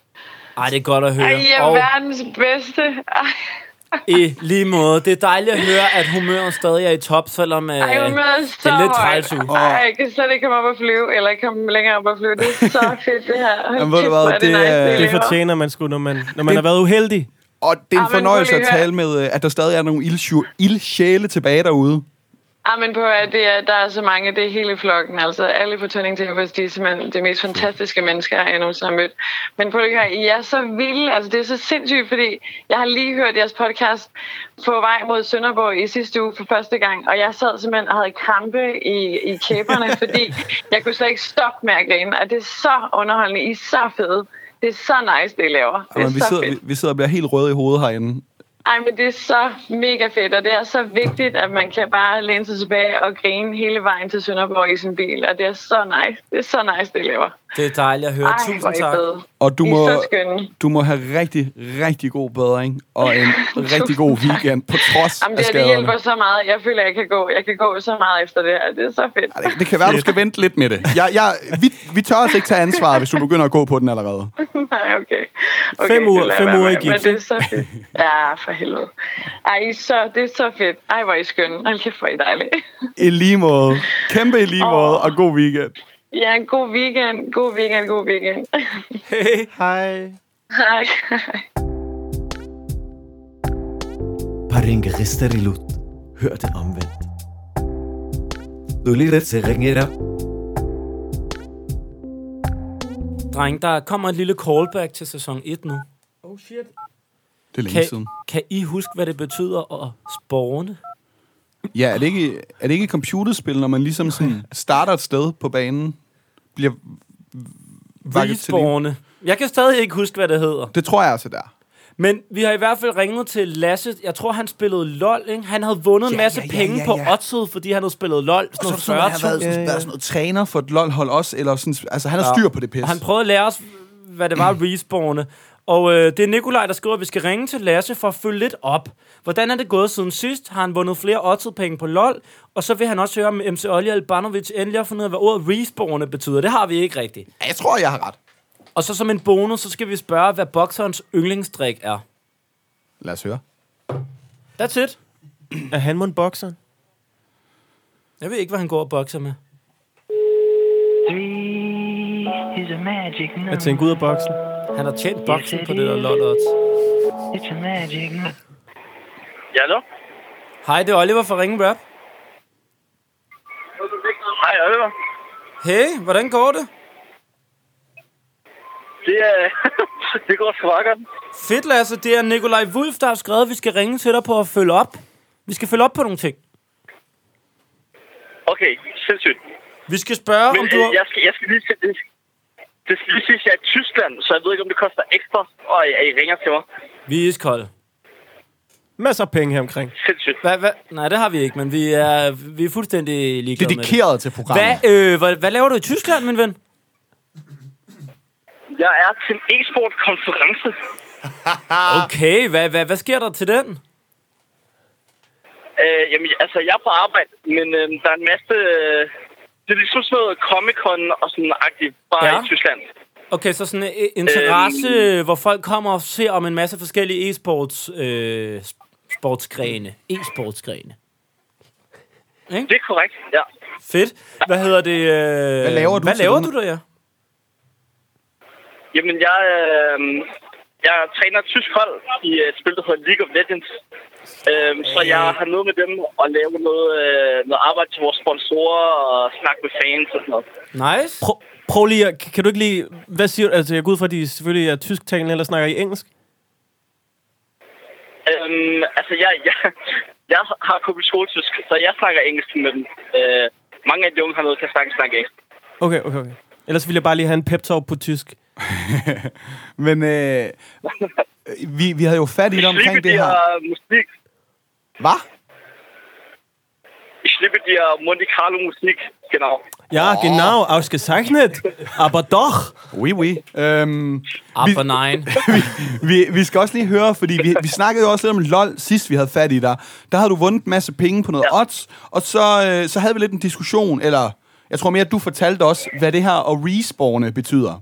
Speaker 1: Ej, det er godt at høre
Speaker 8: Ej, I er
Speaker 1: Og
Speaker 8: verdens bedste. Ej,
Speaker 1: i lige måde Det er dejligt at høre, at humøret stadig er i top Selvom øh,
Speaker 8: ej hun er så
Speaker 1: det er lidt
Speaker 8: højt.
Speaker 1: træls ud.
Speaker 8: Ej, jeg kan slet ikke komme op og flyve, eller komme længere op og flyve. Det er så fedt, det her. Hold
Speaker 2: Jamen, ved du
Speaker 8: kæft,
Speaker 2: hvad,
Speaker 8: hvor er det,
Speaker 2: det
Speaker 8: nice,
Speaker 2: er-
Speaker 8: I
Speaker 3: Det
Speaker 8: laver.
Speaker 3: fortjener man sgu, når man, når man har været uheldig.
Speaker 2: Og det er en
Speaker 8: Ej, men
Speaker 2: fornøjelse
Speaker 8: prøv
Speaker 2: at
Speaker 8: lige at
Speaker 2: tale med, øh, at der stadig er nogle ildsjæ- ildsjæle tilbage derude.
Speaker 8: Ah, men på, at det er, der er så mange, det er hele flokken. Altså, alle på Turning Tables, de er simpelthen de mest fantastiske mennesker, jeg nogensinde har mødt. Men på det her, I er så vilde. Altså, det er så sindssygt, fordi jeg har lige hørt jeres podcast på vej mod Sønderborg i sidste uge for første gang, og jeg sad simpelthen og havde krampe i, i kæberne, fordi jeg kunne slet ikke stoppe med at grine. Og det er så underholdende. I er så fede. Det er så nice, det I laver. Det er
Speaker 2: Jamen, vi,
Speaker 8: så
Speaker 2: sidder,
Speaker 8: fedt.
Speaker 2: vi, vi sidder og bliver helt røde i hovedet herinde.
Speaker 8: Ej, men det er så mega fedt, og det er så vigtigt, at man kan bare læne sig tilbage og grine hele vejen til Sønderborg i sin bil, og det er så nice. Det er så nice, det I laver.
Speaker 1: Det er dejligt at høre
Speaker 8: Ej, hvor
Speaker 1: Tusind
Speaker 8: I
Speaker 1: tak
Speaker 8: fede.
Speaker 2: Og du
Speaker 8: I er
Speaker 2: må,
Speaker 8: så skønne.
Speaker 2: du må have rigtig, rigtig god bedring og en rigtig god weekend på trods
Speaker 8: Jamen, det, her,
Speaker 2: af
Speaker 8: det
Speaker 2: skaderne.
Speaker 8: hjælper så meget. Jeg føler, jeg kan gå, jeg kan gå så meget efter det her. Det er så fedt.
Speaker 2: Ej, Det, det kan være, du skal vente lidt med det. Jeg, jeg, vi, vi tør os ikke tage ansvar, hvis du begynder at gå på den allerede.
Speaker 8: Nej, okay. okay
Speaker 3: Fem
Speaker 8: det
Speaker 3: uger-
Speaker 8: lader
Speaker 3: fem
Speaker 8: jeg være
Speaker 3: uger
Speaker 8: med,
Speaker 3: i
Speaker 8: Men
Speaker 3: gips,
Speaker 8: det er så fedt. Ja, for helvede. Ej, I er så, det er så fedt. Ej, hvor er I skønne. Hold kæft, hvor er I dejlige.
Speaker 2: I lige måde. Kæmpe i lige
Speaker 8: Åh.
Speaker 2: måde, og god weekend.
Speaker 8: Ja, en god weekend. God weekend, god weekend.
Speaker 2: Hej.
Speaker 8: Hej.
Speaker 7: Paringerister i Lut. Hør det omvendt. Du lytter til Ring It Up.
Speaker 1: Dreng, der kommer et lille callback til sæson 1 nu
Speaker 3: Oh shit.
Speaker 2: Det er længe
Speaker 1: kan,
Speaker 2: siden.
Speaker 1: kan I huske, hvad det betyder at sporne?
Speaker 2: Ja, er det, ikke, er det ikke et computerspil, når man ligesom sådan starter et sted på banen? Bliver vakket til liv?
Speaker 1: Sporne. Jeg kan stadig ikke huske, hvad det hedder
Speaker 2: Det tror jeg altså, der.
Speaker 1: Men vi har i hvert fald ringet til Lasse. Jeg tror, han spillede LOL, ikke? Han havde vundet en masse
Speaker 2: ja, ja,
Speaker 1: penge
Speaker 2: ja,
Speaker 1: på
Speaker 2: ja.
Speaker 1: oddset, fordi han havde spillet LOL. Sådan noget 40
Speaker 2: sådan, været sådan noget træner for et lol-hold også, eller sådan, altså han har styr på det pis.
Speaker 1: Og han prøvede at lære os, hvad det var at respawne. Og øh, det er Nikolaj, der skriver, at vi skal ringe til Lasse for at følge lidt op. Hvordan er det gået siden sidst? Har han vundet flere oddset-penge på LOL? Og så vil han også høre, om MC Olli Albanovic endelig har fundet ud af, hvad ordet respawne betyder. Det har vi ikke rigtigt.
Speaker 2: Ja, jeg tror, jeg har ret.
Speaker 1: Og så som en bonus, så skal vi spørge, hvad bokserens yndlingsdrik er.
Speaker 2: Lad os høre.
Speaker 1: That's it.
Speaker 3: Er han mon bokseren?
Speaker 1: Jeg ved ikke, hvad han går og bokser med.
Speaker 5: is a magic number.
Speaker 3: Jeg tænker ud af boksen.
Speaker 1: Han har tjent boksen på det der lollots.
Speaker 5: It's a magic number.
Speaker 9: Ja, hallo?
Speaker 1: Hej, det er Oliver fra Ringen Rap.
Speaker 9: Hej, Oliver.
Speaker 1: Hey, hvordan går det?
Speaker 9: Det, er, det går sgu meget godt.
Speaker 1: Fedt, Lasse. Det er Nikolaj Wulf, der har skrevet, at vi skal ringe til dig på at følge op. Vi skal følge op på nogle ting.
Speaker 9: Okay, sindssygt.
Speaker 1: Vi skal spørge,
Speaker 9: Men
Speaker 1: om du...
Speaker 9: øh,
Speaker 1: har-
Speaker 9: jeg, skal, jeg skal lige sige, det, det skal lige sige, at jeg er i Tyskland, så jeg ved ikke, om det koster ekstra, og at I ringer til mig.
Speaker 1: Vi er iskolde.
Speaker 3: Masser af penge her omkring.
Speaker 9: Sindssygt.
Speaker 1: Hvad, hvad? Nej, det har vi ikke, men vi er, vi er fuldstændig ligeglade med det.
Speaker 10: Dedikeret til programmet.
Speaker 1: Hvad, øh, hvad, hvad laver du i Tyskland, min ven?
Speaker 9: Jeg er til en e-sport-konference.
Speaker 1: Okay, hvad, hvad, hvad sker der til den?
Speaker 9: Øh, jamen, altså, jeg er på arbejde, men øh, der er en masse... Øh, det er ligesom sådan noget Comic-Con og sådan agtigt, bare
Speaker 1: Ja.
Speaker 9: ja. i Tyskland.
Speaker 1: Okay, så sådan en interesse, øhm. hvor folk kommer og ser om en masse forskellige e-sports øh, sp- sportsgrene. E-sportsgrene.
Speaker 9: Det er korrekt, ja.
Speaker 1: Fedt. Hvad hedder det? Øh,
Speaker 2: Hvad laver du
Speaker 1: Hvad
Speaker 2: til
Speaker 1: laver du
Speaker 2: den?
Speaker 1: der? Ja?
Speaker 9: Jamen, jeg, øh, jeg træner et tysk hold i et spil, der hedder League of Legends. Øhm, så jeg
Speaker 2: Øh.
Speaker 9: har noget med dem at lave noget, øh, noget arbejde til vores sponsorer og snakke med fans og sådan noget.
Speaker 1: Nice.
Speaker 3: Prøv, prøv lige, at- kan du ikke lige, hvad siger du? Altså, jeg går ud fra, at de selvfølgelig er tysktalende, eller snakker i engelsk.
Speaker 9: Øhm, altså, jeg, jeg, jeg har kommet skoletysk, så jeg snakker engelsk med dem. Øh, mange af de unge har noget kan snakke, snakke engelsk.
Speaker 3: Okay, okay, okay. Ellers vil jeg bare lige have en pep talk på tysk.
Speaker 2: Men øh, vi, vi havde jo fat i
Speaker 9: Ich
Speaker 2: dig
Speaker 9: liebe
Speaker 2: omkring det
Speaker 9: dir
Speaker 2: her.
Speaker 9: Musik.
Speaker 2: Hvad?
Speaker 9: Ich liebe dir Monte Carlo Musik. Genau.
Speaker 3: Ja, oh. genau, ausgezeichnet. Aber doch.
Speaker 2: Oui, oui. Øhm,
Speaker 1: Upper nine.
Speaker 2: vi, vi skal også lige høre, fordi vi, vi snakkede jo også lidt om LOL sidst, vi havde fat i dig. Der havde du vundet en masse penge på noget ja. odds, og så, øh, så havde vi lidt en diskussion, eller jeg tror mere, at du fortalte os, hvad det her at respawne betyder.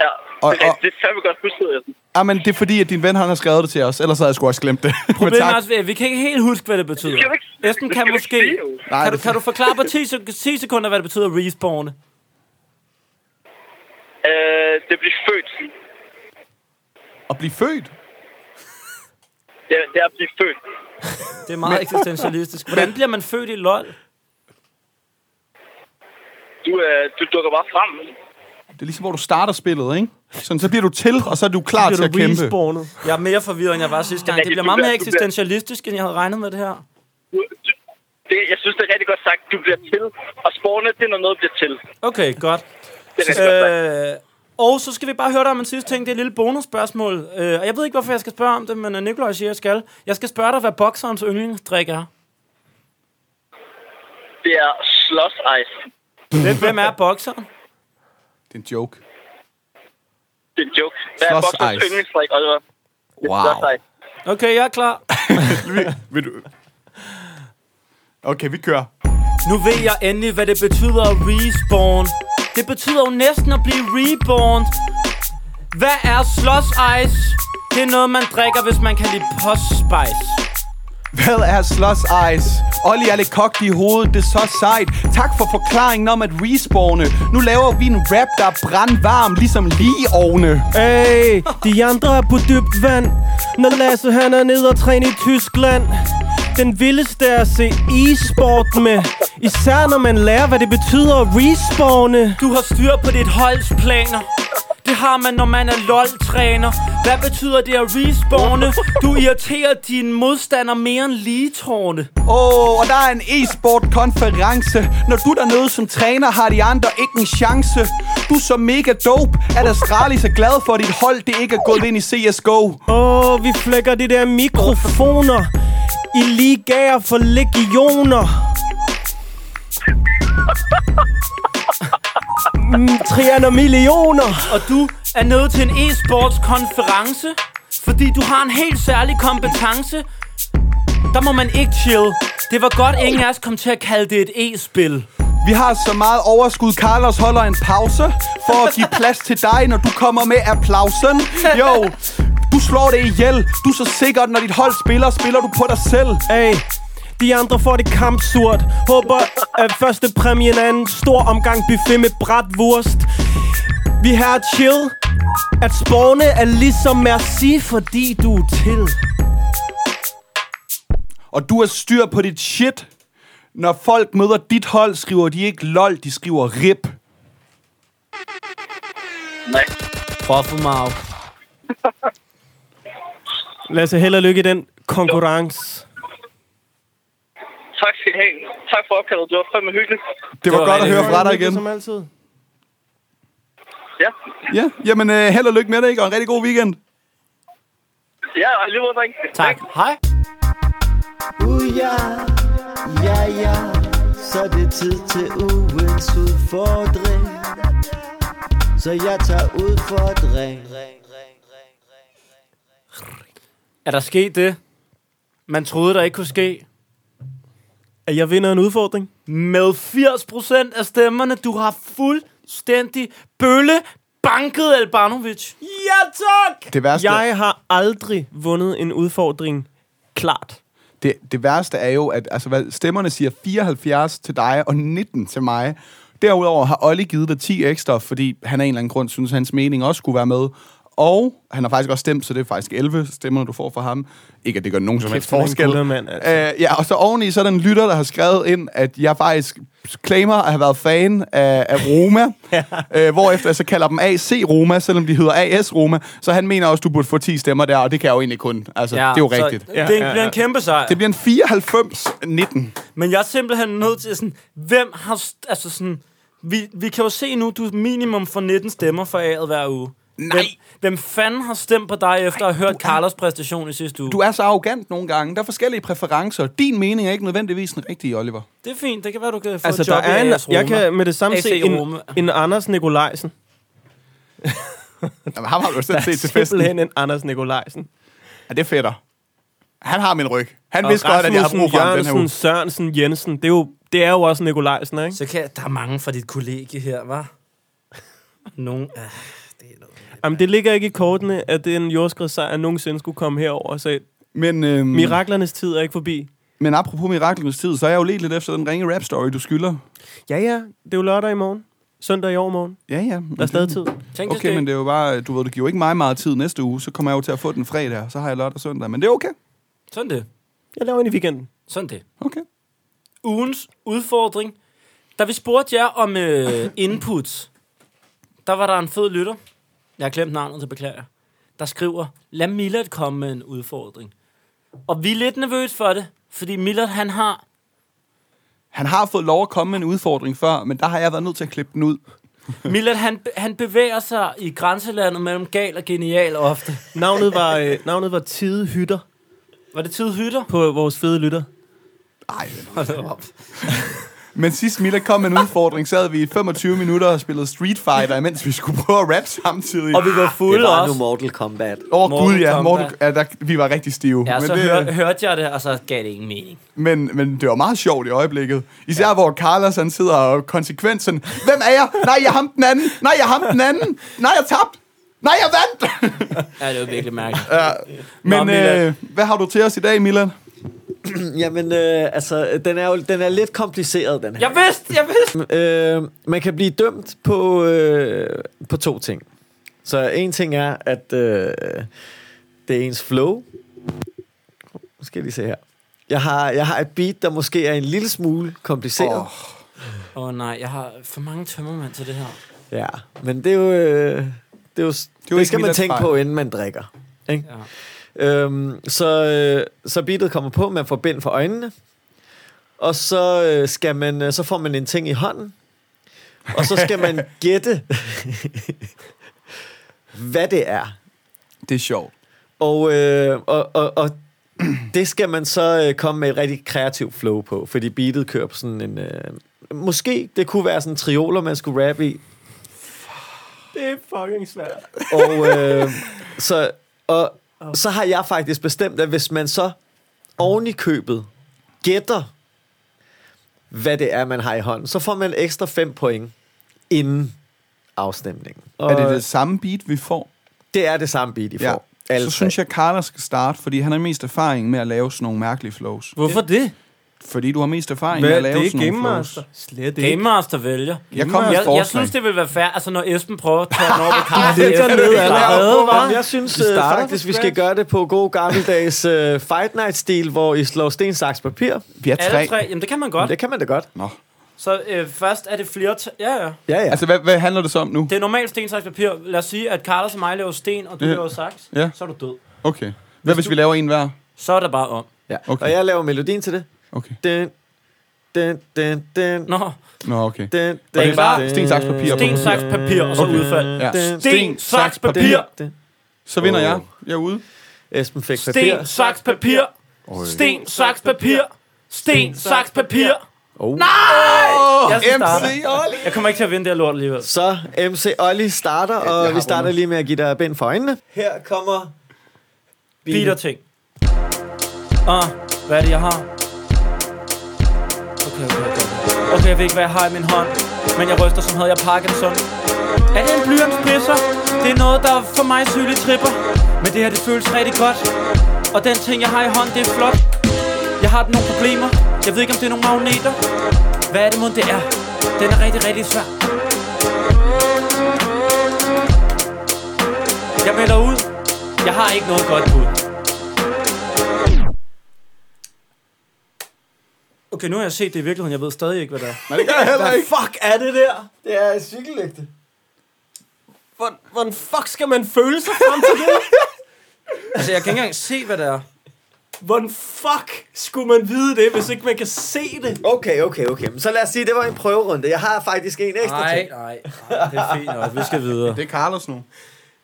Speaker 9: Ja,
Speaker 2: Og-
Speaker 9: og, det,
Speaker 2: og-
Speaker 9: det er fandme godt husket. Jensen.
Speaker 2: Ah, men det er fordi, at din ven han har skrevet det til os, ellers havde jeg sgu også glemt det. Men
Speaker 1: Problemet er
Speaker 2: tak.
Speaker 1: også, at vi kan ikke helt huske, hvad det betyder.
Speaker 9: Det skal du ikke-
Speaker 1: Esben
Speaker 9: det
Speaker 1: kan
Speaker 9: skal du
Speaker 1: måske...
Speaker 9: ikke sige, jo.
Speaker 2: Nej,
Speaker 1: kan, du,
Speaker 2: det-
Speaker 1: kan du forklare på 10, sek- 10 sekunder, hvad det betyder at respawne?
Speaker 9: Øh, det bliver født.
Speaker 2: At blive født?
Speaker 9: Det, er- det er at blive født.
Speaker 1: Det er meget men... eksistentialistisk. Hvordan bliver man født i LOL?
Speaker 9: Du, øh, du dukker bare frem.
Speaker 2: Det er ligesom, hvor du starter spillet, ikke? Sådan, så bliver du til, og så er du klar Ah, til
Speaker 3: Bliver
Speaker 2: at
Speaker 3: du
Speaker 2: kæmpe.
Speaker 3: respawnet?
Speaker 1: Jeg er mere forvirret, end jeg var sidste gang. Det bliver meget mere eksistentialistisk, end jeg havde regnet med det her.
Speaker 9: Du, du, det, jeg synes, det er rigtig godt sagt. Du bliver til. Og sporene, det er, når noget bliver til.
Speaker 1: Okay, godt.
Speaker 9: Det er rigtig godt sagt.
Speaker 1: Øh, og så skal vi bare høre dig om en sidste ting. Det er et lille bonusspørgsmål. Øh, og jeg ved ikke, hvorfor jeg skal spørge om det, men øh, Nikolaj siger, jeg skal. Jeg skal spørge dig, hvad bokserens yndlingsdrik er.
Speaker 9: Det er slås ice.
Speaker 1: Hvem, hvem er bokseren?
Speaker 2: Det er en joke.
Speaker 9: Det er en joke. Hvad er
Speaker 2: Slush
Speaker 9: boksens
Speaker 2: ice.
Speaker 9: yndlingsdrik, Oliver? Det er
Speaker 2: Wow.
Speaker 9: slush ice.
Speaker 1: Okay, jeg er klar.
Speaker 2: Vil du... Okay, vi kører.
Speaker 1: Nu ved jeg endelig, hvad det betyder at respawn. Det betyder jo næsten at blive reborn. Hvad er slås ice? Det er noget, man drikker, hvis man kan lide postspice.
Speaker 2: Hvad er Slush Ice? Olli er lidt kogt i hovedet, det er så sejt. Tak for forklaringen om at respawne. Nu laver vi en rap, der er brandvarm, ligesom lige ovne.
Speaker 3: Hey, de andre er på dybt vand Når Lasse han er nede og træne i Tyskland Den vildeste er at se e-sport med Især når man lærer hvad det betyder at respawne
Speaker 1: Du har styr på dit holds planer. Det har man, når man er LOL-træner. Hvad betyder det at respawne? Du irriterer dine modstandere mere end lige tårne.
Speaker 2: Åh, oh, og der er en e-sport-konference. Når du dernede som træner, har de andre ikke en chance. Du er så mega dope, at Astralis er glad for, at dit hold det ikke er gået ind i CSGO.
Speaker 3: Åh, oh, vi flækker de der mikrofoner I ligager for legioner Mm, Trianer millioner
Speaker 1: Og du er nødt til en e-sportskonference, fordi du har en helt særlig kompetence. Der må man ikke chill. Det var godt, ingen af os kom til at kalde det et e-spil.
Speaker 2: Vi har så meget overskud, Carlos holder en pause For at give plads til dig, når du kommer med applausen Jo, du slår det ihjel Du er så sikkert, når dit hold spiller, spiller du på dig selv
Speaker 3: Hey, De andre får det kampsurt. Håber, at første præmien er en stor omgang buffet med bratwurst. Vi her er chill. At spåne er ligesom merci, fordi du er til.
Speaker 2: Og du har styr på dit shit. Når folk møder dit hold, skriver de ikke lol, de skriver rip.
Speaker 11: Nej.
Speaker 1: Buffelmouth.
Speaker 3: Lad os held og lykke i den konkurrence.
Speaker 11: Tak skal I have. Tak for opkaldet. Det var fandme hyggeligt.
Speaker 2: Det var,
Speaker 1: var
Speaker 2: det var godt at
Speaker 1: rigtig
Speaker 2: høre fra dig
Speaker 3: Lykke
Speaker 2: igen.
Speaker 3: Som altid.
Speaker 11: Ja.
Speaker 2: Ja, jamen øh, held og lykke med dig, ikke? og en rigtig god weekend.
Speaker 11: Ja, og lige måde, dreng.
Speaker 1: Tak. Hej.
Speaker 7: Uh, ja, ja, ja, så er det tid til ugens udfordring. Så jeg tager udfordring.
Speaker 1: Er der sket det, man troede, der ikke kunne ske?
Speaker 3: At jeg vinder en udfordring.
Speaker 1: Med 80% af stemmerne, du har fuldstændig bølle banket Albanovic.
Speaker 3: Ja tak!
Speaker 2: Det værste,
Speaker 3: Jeg har aldrig vundet en udfordring. Klart.
Speaker 2: det, det værste er jo, at altså, hvad, stemmerne siger 74 til dig og 19 til mig. Derudover har Olli givet dig 10 ekstra, fordi han af en eller anden grund synes, at hans mening også skulle være med. Og han har faktisk også stemt, så det er faktisk 11 stemmer, du får fra ham. Ikke, at det gør nogen som helst
Speaker 3: han er en
Speaker 2: forskel.
Speaker 3: guldermand, altså.
Speaker 2: Øh, ja, og så oveni, så er der en lytter, der har skrevet ind, at jeg faktisk claimer at have været fan af, af Roma. øh, hvorefter jeg så kalder dem AC Roma, selvom de hedder AS Roma. Så han mener også, du burde få 10 stemmer der, og det kan jeg jo egentlig kun. Altså, ja, det er jo rigtigt.
Speaker 1: Så, ja, det bliver en kæmpe sejr.
Speaker 2: Det bliver en 94-19.
Speaker 1: Men jeg er simpelthen nødt til sådan, hvem har, st- altså sådan, vi, vi kan jo se nu, du minimum får 19 stemmer for A'et hver uge. Nej. Hvem, hvem fanden har stemt på dig efter at have hørt Carlos præstation i sidste uge?
Speaker 2: Du er så arrogant nogle gange. Der er forskellige præferencer. Din mening er ikke nødvendigvis den rigtige, Oliver.
Speaker 1: Det er fint, det kan være, du kan få
Speaker 3: Altså,
Speaker 1: et
Speaker 3: der
Speaker 1: job
Speaker 3: er
Speaker 1: i
Speaker 3: en,
Speaker 1: AS Roma.
Speaker 3: jeg kan med det samme
Speaker 1: AC
Speaker 3: se en,
Speaker 1: Roma.
Speaker 3: en Anders Nikolajsen.
Speaker 2: Jamen, ham har du jo
Speaker 3: Der
Speaker 2: selv
Speaker 3: er
Speaker 2: set til festen.
Speaker 3: simpelthen en Anders Nikolajsen.
Speaker 2: Ja, det er fedt. Han har min ryg. Han
Speaker 3: Og
Speaker 2: vidste godt, at jeg har
Speaker 3: Rasmussen,
Speaker 2: brug for ham den her
Speaker 3: Jørgensen,
Speaker 2: uge.
Speaker 3: Sørensen, Jensen, det er jo, det er jo også Nikolajsen, ikke?
Speaker 1: Så kan der er mange fra dit kollegie her, var? Nogle, øh, det er noget.
Speaker 3: Jamen, det ligger ikke i kortene, at den jordskredssejr nogensinde skulle komme herover. Så
Speaker 2: Men, øhm,
Speaker 3: miraklernes tid er ikke forbi.
Speaker 2: men apropos miraklens tid, så er jeg jo let lidt efter den ringe rap story, du skylder.
Speaker 3: Ja, ja, det er jo lørdag i morgen. Søndag i overmorgen.
Speaker 2: Ja, ja. men
Speaker 3: Der er stadig
Speaker 2: det-
Speaker 3: tid.
Speaker 1: Tænk,
Speaker 2: Okay, men
Speaker 1: det...
Speaker 2: det er jo bare, du ved, det giver jo ikke mig meget tid næste uge, så kommer jeg jo til at få den fredag, og så har jeg lørdag og søndag, men det er okay.
Speaker 1: Sådan det.
Speaker 3: Jeg laver en i weekenden.
Speaker 1: Sådan det.
Speaker 2: Okay.
Speaker 1: Ugens udfordring. Da vi spurgte jer om øh, inputs, der var der en fed lytter. Jeg har glemt navnet, så beklager jeg. Der skriver, lad Millard komme med en udfordring. Og vi er lidt nervøse for det, fordi Millard, han har...
Speaker 2: Han har fået lov at komme med en udfordring før, men der har jeg været nødt til at klippe den ud.
Speaker 1: Millard, han, han bevæger sig i grænselandet mellem gal og genial ofte.
Speaker 3: Navnet var, øh, navnet var Tide Hytter
Speaker 1: Var det tid hytter?
Speaker 3: på vores fede lytter.
Speaker 2: Ej,
Speaker 1: Hold da op.
Speaker 2: Men sidst Mila kom med en udfordring, sad vi i 25 minutter og spillede Street Fighter, mens vi skulle prøve at rap samtidig.
Speaker 1: Og vi var
Speaker 7: Det
Speaker 1: fulde
Speaker 7: var nu
Speaker 1: også.
Speaker 7: Mortal Kombat.
Speaker 2: Åh oh,
Speaker 1: Mortal
Speaker 2: gud, ja,
Speaker 1: Kombat.
Speaker 2: Mortal, ja der, vi var rigtig stive.
Speaker 1: Ja,
Speaker 2: men,
Speaker 1: så
Speaker 2: det,
Speaker 1: hør, hørte jeg det, og så gav det ingen mening.
Speaker 2: men, men det var meget sjovt i øjeblikket. Især ja. hvor Carlos han sidder og konsekvent sådan, hvem er jeg? Nej, jeg er ham den anden. Nej, jeg er ham den anden. Nej, jeg tabte. Nej, jeg vandt.
Speaker 1: Ja, det var virkelig mærkeligt.
Speaker 2: Men
Speaker 1: Nå, Milan.
Speaker 2: øh, hvad har du til os i dag, Milan?
Speaker 7: Jamen, øh, altså, den er jo den er lidt kompliceret, den her.
Speaker 1: Jeg vidste, jeg vidste!
Speaker 7: Øh, man kan blive dømt på, øh, på to ting. Så en ting er, at øh, det er ens flow. Nu skal jeg lige se her. Jeg har, jeg har et beat, der måske er en lille smule kompliceret.
Speaker 2: Åh.
Speaker 7: Oh.
Speaker 1: Åh oh, nej, jeg har for mange tømmermænd til det her.
Speaker 7: Ja, men det er jo... Øh, det, er jo, det,
Speaker 2: jo
Speaker 7: jo
Speaker 2: ikke
Speaker 7: det skal man
Speaker 2: Milads
Speaker 7: tænke
Speaker 2: fejl.
Speaker 7: på, inden man drikker. Ikke? Ja. Øhm, så, øh, så beatet kommer på, man får bind for øjnene. Og så, øh, skal man, øh, så får man en ting i hånden. Og så skal man gætte, hvad det er.
Speaker 2: Det er sjovt.
Speaker 7: Og, øh, og, og, og det skal man så øh, komme med et rigtig kreativt flow på, fordi beatet kører på sådan en... Øh, måske det kunne være sådan en trioler, man skulle rappe i.
Speaker 3: Det er fucking svært.
Speaker 7: Og, øh, så, og så har jeg faktisk bestemt, at hvis man så oven i købet gætter, hvad det er, man har i hånden, så får man ekstra 5 point inden afstemningen. Og
Speaker 2: Er det det samme beat, vi får?
Speaker 7: det er det samme beat, I får.
Speaker 2: Ja.
Speaker 7: Alle
Speaker 2: Så
Speaker 7: tre.
Speaker 2: synes jeg, Carlos skal starte, fordi han har mest erfaring med at lave sådan nogle mærkelige flows.
Speaker 1: Hvorfor det?
Speaker 2: Fordi du har mest erfaring med
Speaker 3: Hvad,
Speaker 2: at lave
Speaker 3: det er
Speaker 2: sådan
Speaker 3: Game
Speaker 2: nogle flows.
Speaker 3: Master. Slet
Speaker 1: Game
Speaker 3: ikke.
Speaker 1: Master vælger.
Speaker 2: Jeg kom med
Speaker 1: jeg,
Speaker 2: et
Speaker 1: jeg
Speaker 2: forslag.
Speaker 1: synes, det ville være fair, altså når Esben prøver at tage den over ved Carsten.
Speaker 3: ligger
Speaker 1: Esben,
Speaker 3: ned
Speaker 1: det er klart.
Speaker 3: allerede.
Speaker 7: Hvad,
Speaker 3: hva'?
Speaker 7: Jeg synes
Speaker 3: Vi
Speaker 7: øh,
Speaker 3: starter
Speaker 7: faktisk,
Speaker 3: fra
Speaker 7: vi skal
Speaker 3: scratch.
Speaker 7: gøre det på god gammeldags øh, Fight Night-stil, hvor I slår sten, saks, papir.
Speaker 2: Vi er tre.
Speaker 1: Alle tre, jamen det kan man
Speaker 7: Men
Speaker 1: godt.
Speaker 7: Det kan man da godt.
Speaker 2: Nå.
Speaker 1: Så øh, først er det flere... T- ja, ja.
Speaker 7: Ja, ja.
Speaker 2: Altså, hvad, hvad handler det så om nu?
Speaker 1: Det er normalt sten, saks, papir. Lad os sige, at Carlos og mig laver sten, og du
Speaker 2: Ja.
Speaker 1: laver saks.
Speaker 2: Ja.
Speaker 1: Så er du død.
Speaker 2: Okay. Hvad hvis vi laver en hver?
Speaker 1: Så er der bare om.
Speaker 7: ja.
Speaker 2: okay.
Speaker 7: Okay. Og jeg laver melodien til det.
Speaker 2: Okay.
Speaker 7: Den, den, den, den,
Speaker 1: Nå,
Speaker 2: Nå, okay.
Speaker 7: den, den,
Speaker 2: Og det er bare sten, saks, papir.
Speaker 1: sten, saks, papir, og så
Speaker 2: Okay.
Speaker 1: okay. udfald.
Speaker 2: Ja.
Speaker 7: den,
Speaker 1: Sten, saks, papir.
Speaker 7: den, den.
Speaker 2: Så vinder
Speaker 7: Åh.
Speaker 2: jeg. Jeg er ude.
Speaker 7: Esben fik papir.
Speaker 1: Sten, saks, papir. Sten, saks, papir. Sten, saks, papir.
Speaker 7: Oh.
Speaker 1: Jeg skal starte.
Speaker 2: Olli!
Speaker 1: Jeg kommer ikke til at vinde det her lort alligevel.
Speaker 7: Så MC Olli starter, og vi starter lige med at give dig bind for øjnene. Her kommer...
Speaker 1: Bitter ting. Ah, hvad er det, jeg har? Okay, okay, okay. Okay, jeg ved ikke, hvad jeg har i min hånd. Men jeg ryster, som havde jeg Parkinson. Er det en blyantspidser? Det er noget, der for mig sygeligt tripper. Men det her, det føles rigtig godt. Og den ting, jeg har i hånd, det er flot. Jeg har nogle problemer. Jeg ved ikke, om det er nogle magneter. Hvad er det, mon det er? Den er rigtig, rigtig svær. Jeg melder ud. Jeg har ikke noget godt bud. Okay, nu har jeg set det i virkeligheden. Jeg ved stadig ikke, hvad det er.
Speaker 2: Nej, det gør jeg heller ikke.
Speaker 3: Fuck er det der?
Speaker 7: Det er cykellygte.
Speaker 3: Hvor, hvordan fuck skal man føle sig frem til det?
Speaker 1: Altså, jeg kan ikke engang se, hvad det er.
Speaker 3: Hvordan fuck skulle man vide det, hvis ikke man kan se det?
Speaker 7: Okay, okay, okay. Men så lad os sige, det var en prøverunde. Jeg har faktisk en ekstra
Speaker 1: Nej,
Speaker 7: ting.
Speaker 1: nej, nej, det er fint nok. Vi skal videre.
Speaker 2: Det er Carlos nu.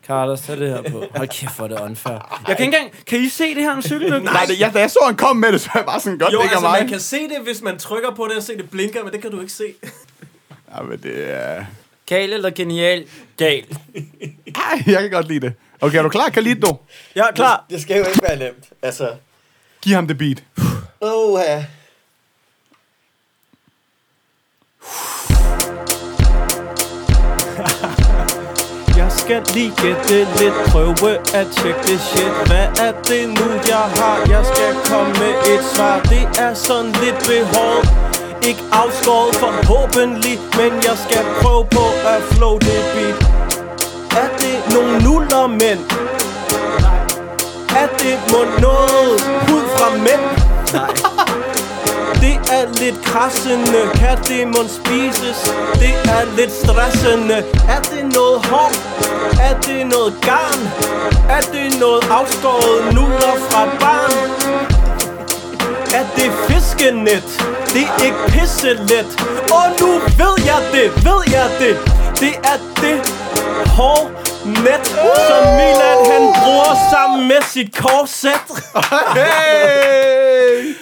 Speaker 1: Carlos, tag det her på. Hold kæft, hvor er det unfair. Jeg kan ikke engang... Kan I se det her en cykellykke?
Speaker 2: Nej, det, jeg, da jeg så, han kom med det, så var jeg bare sådan, godt,
Speaker 3: Jo,
Speaker 2: det ikke er
Speaker 3: altså
Speaker 2: mig.
Speaker 3: man kan se det, hvis man trykker på det og se det blinker, men det kan du ikke se.
Speaker 2: Ja, men det er...
Speaker 1: Gal eller genial? Gal.
Speaker 2: Ej, jeg kan godt lide det. Okay, er du klar, Kalito?
Speaker 3: Jeg er klar.
Speaker 7: Det skal jo ikke være nemt. Altså...
Speaker 2: Giv ham det beat.
Speaker 7: Oh, ja.
Speaker 3: Jeg skal lige gætte lidt, prøve at tjekke det shit Hvad er det nu jeg har? Jeg skal komme med et svar Det er sådan lidt behov Ikke afskåret forhåbentlig Men jeg skal prøve på at flow det beat Er det nogle nuller mænd? Er det må noget hud fra mænd? Det er lidt krassende, kan det mon spises? Det er lidt stressende, er det noget hår? Er det noget garn? Er det noget afskåret nuller fra barn? Er det fiskenet? Det er ikke pisse let Og nu ved jeg det, ved jeg det Det er det hår net, som Milan han bruger sammen med sit korset.
Speaker 2: Hey!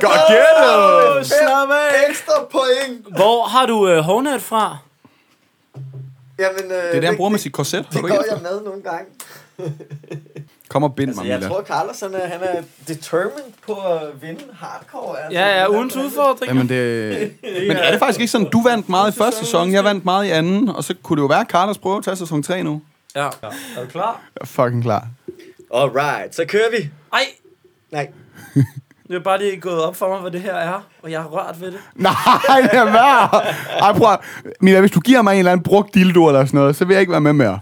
Speaker 2: Godt gættet!
Speaker 3: Slap af.
Speaker 7: Ekstra point.
Speaker 1: Hvor har du øh, hårnet fra?
Speaker 7: Jamen, øh,
Speaker 2: Det er der, han bruger med sit korset. Har du ikke efter?
Speaker 7: med nogle gange.
Speaker 2: Kom og bind mig,
Speaker 7: Altså, Jeg
Speaker 2: Mila.
Speaker 7: tror, Carlos han er, han er determined på at vinde hardcore. Altså.
Speaker 1: Ja, ja, ugens udfordring.
Speaker 2: Jamen, det... Men er det faktisk ikke sådan, du vandt meget i første sæson, jeg vandt meget i anden, og så kunne det jo være, at Carlos prøver at tage sæson 3 nu.
Speaker 1: Ja. Er du klar?
Speaker 2: Jeg er fucking klar.
Speaker 7: Alright, så kører vi.
Speaker 1: Ej,
Speaker 7: Nej.
Speaker 1: nu er bare lige gået op for mig, hvad det her er, og jeg har rørt ved det.
Speaker 2: Nej, det er værd. Ej, prøv at- Mila, hvis du giver mig en eller anden brugt dildo eller sådan noget, så vil jeg ikke være med mere.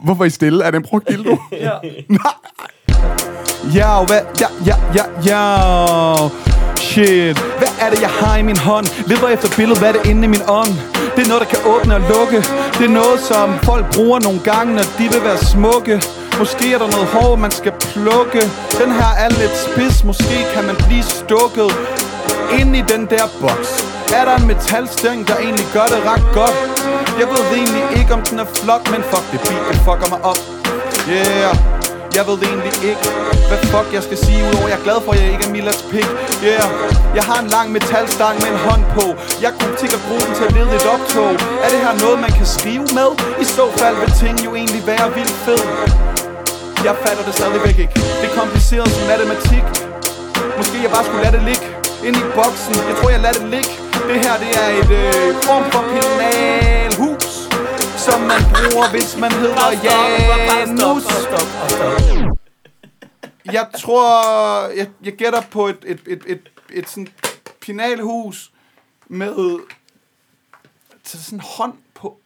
Speaker 2: Hvorfor er I stille? Er det en brugt dildo?
Speaker 1: Ja.
Speaker 2: Nej. Ja, hvad? Ja, ja, ja, ja. Shit. Hvad er det, jeg har i min hånd? Leder efter billedet, hvad er det inde i min ånd? Det er noget, der kan åbne og lukke. Det er noget, som folk bruger nogle gange, når de vil være smukke. Måske er der noget hår, man skal plukke. Den her er lidt spids. Måske kan man blive stukket ind i den der boks. Er der en metalstæng, der egentlig gør det ret godt? Jeg ved egentlig ikke, om den er flot, men fuck det beat, det fucker mig op. Yeah, jeg ved egentlig ikke, hvad fuck jeg skal sige, udover jeg er glad for, at jeg ikke er Milas pik. Yeah, jeg har en lang metalstang med en hånd på. Jeg kunne sikkert bruge den til at lede et optog. Er det her noget, man kan skrive med? I så fald vil ting jo egentlig være vildt fed. Jeg fatter det stadigvæk ikke. Det er kompliceret som matematik. Måske jeg bare skulle lade det ligge ind i boksen. Jeg tror, jeg lader det ligge. Det her, det er et øh, form for penalhus, som man bruger, hvis man hedder
Speaker 1: stop,
Speaker 2: Janus.
Speaker 1: stop, stop, stop.
Speaker 2: Jeg tror, jeg, jeg gætter på et, et, et, et et sådan penalhus med så sådan en hånd på.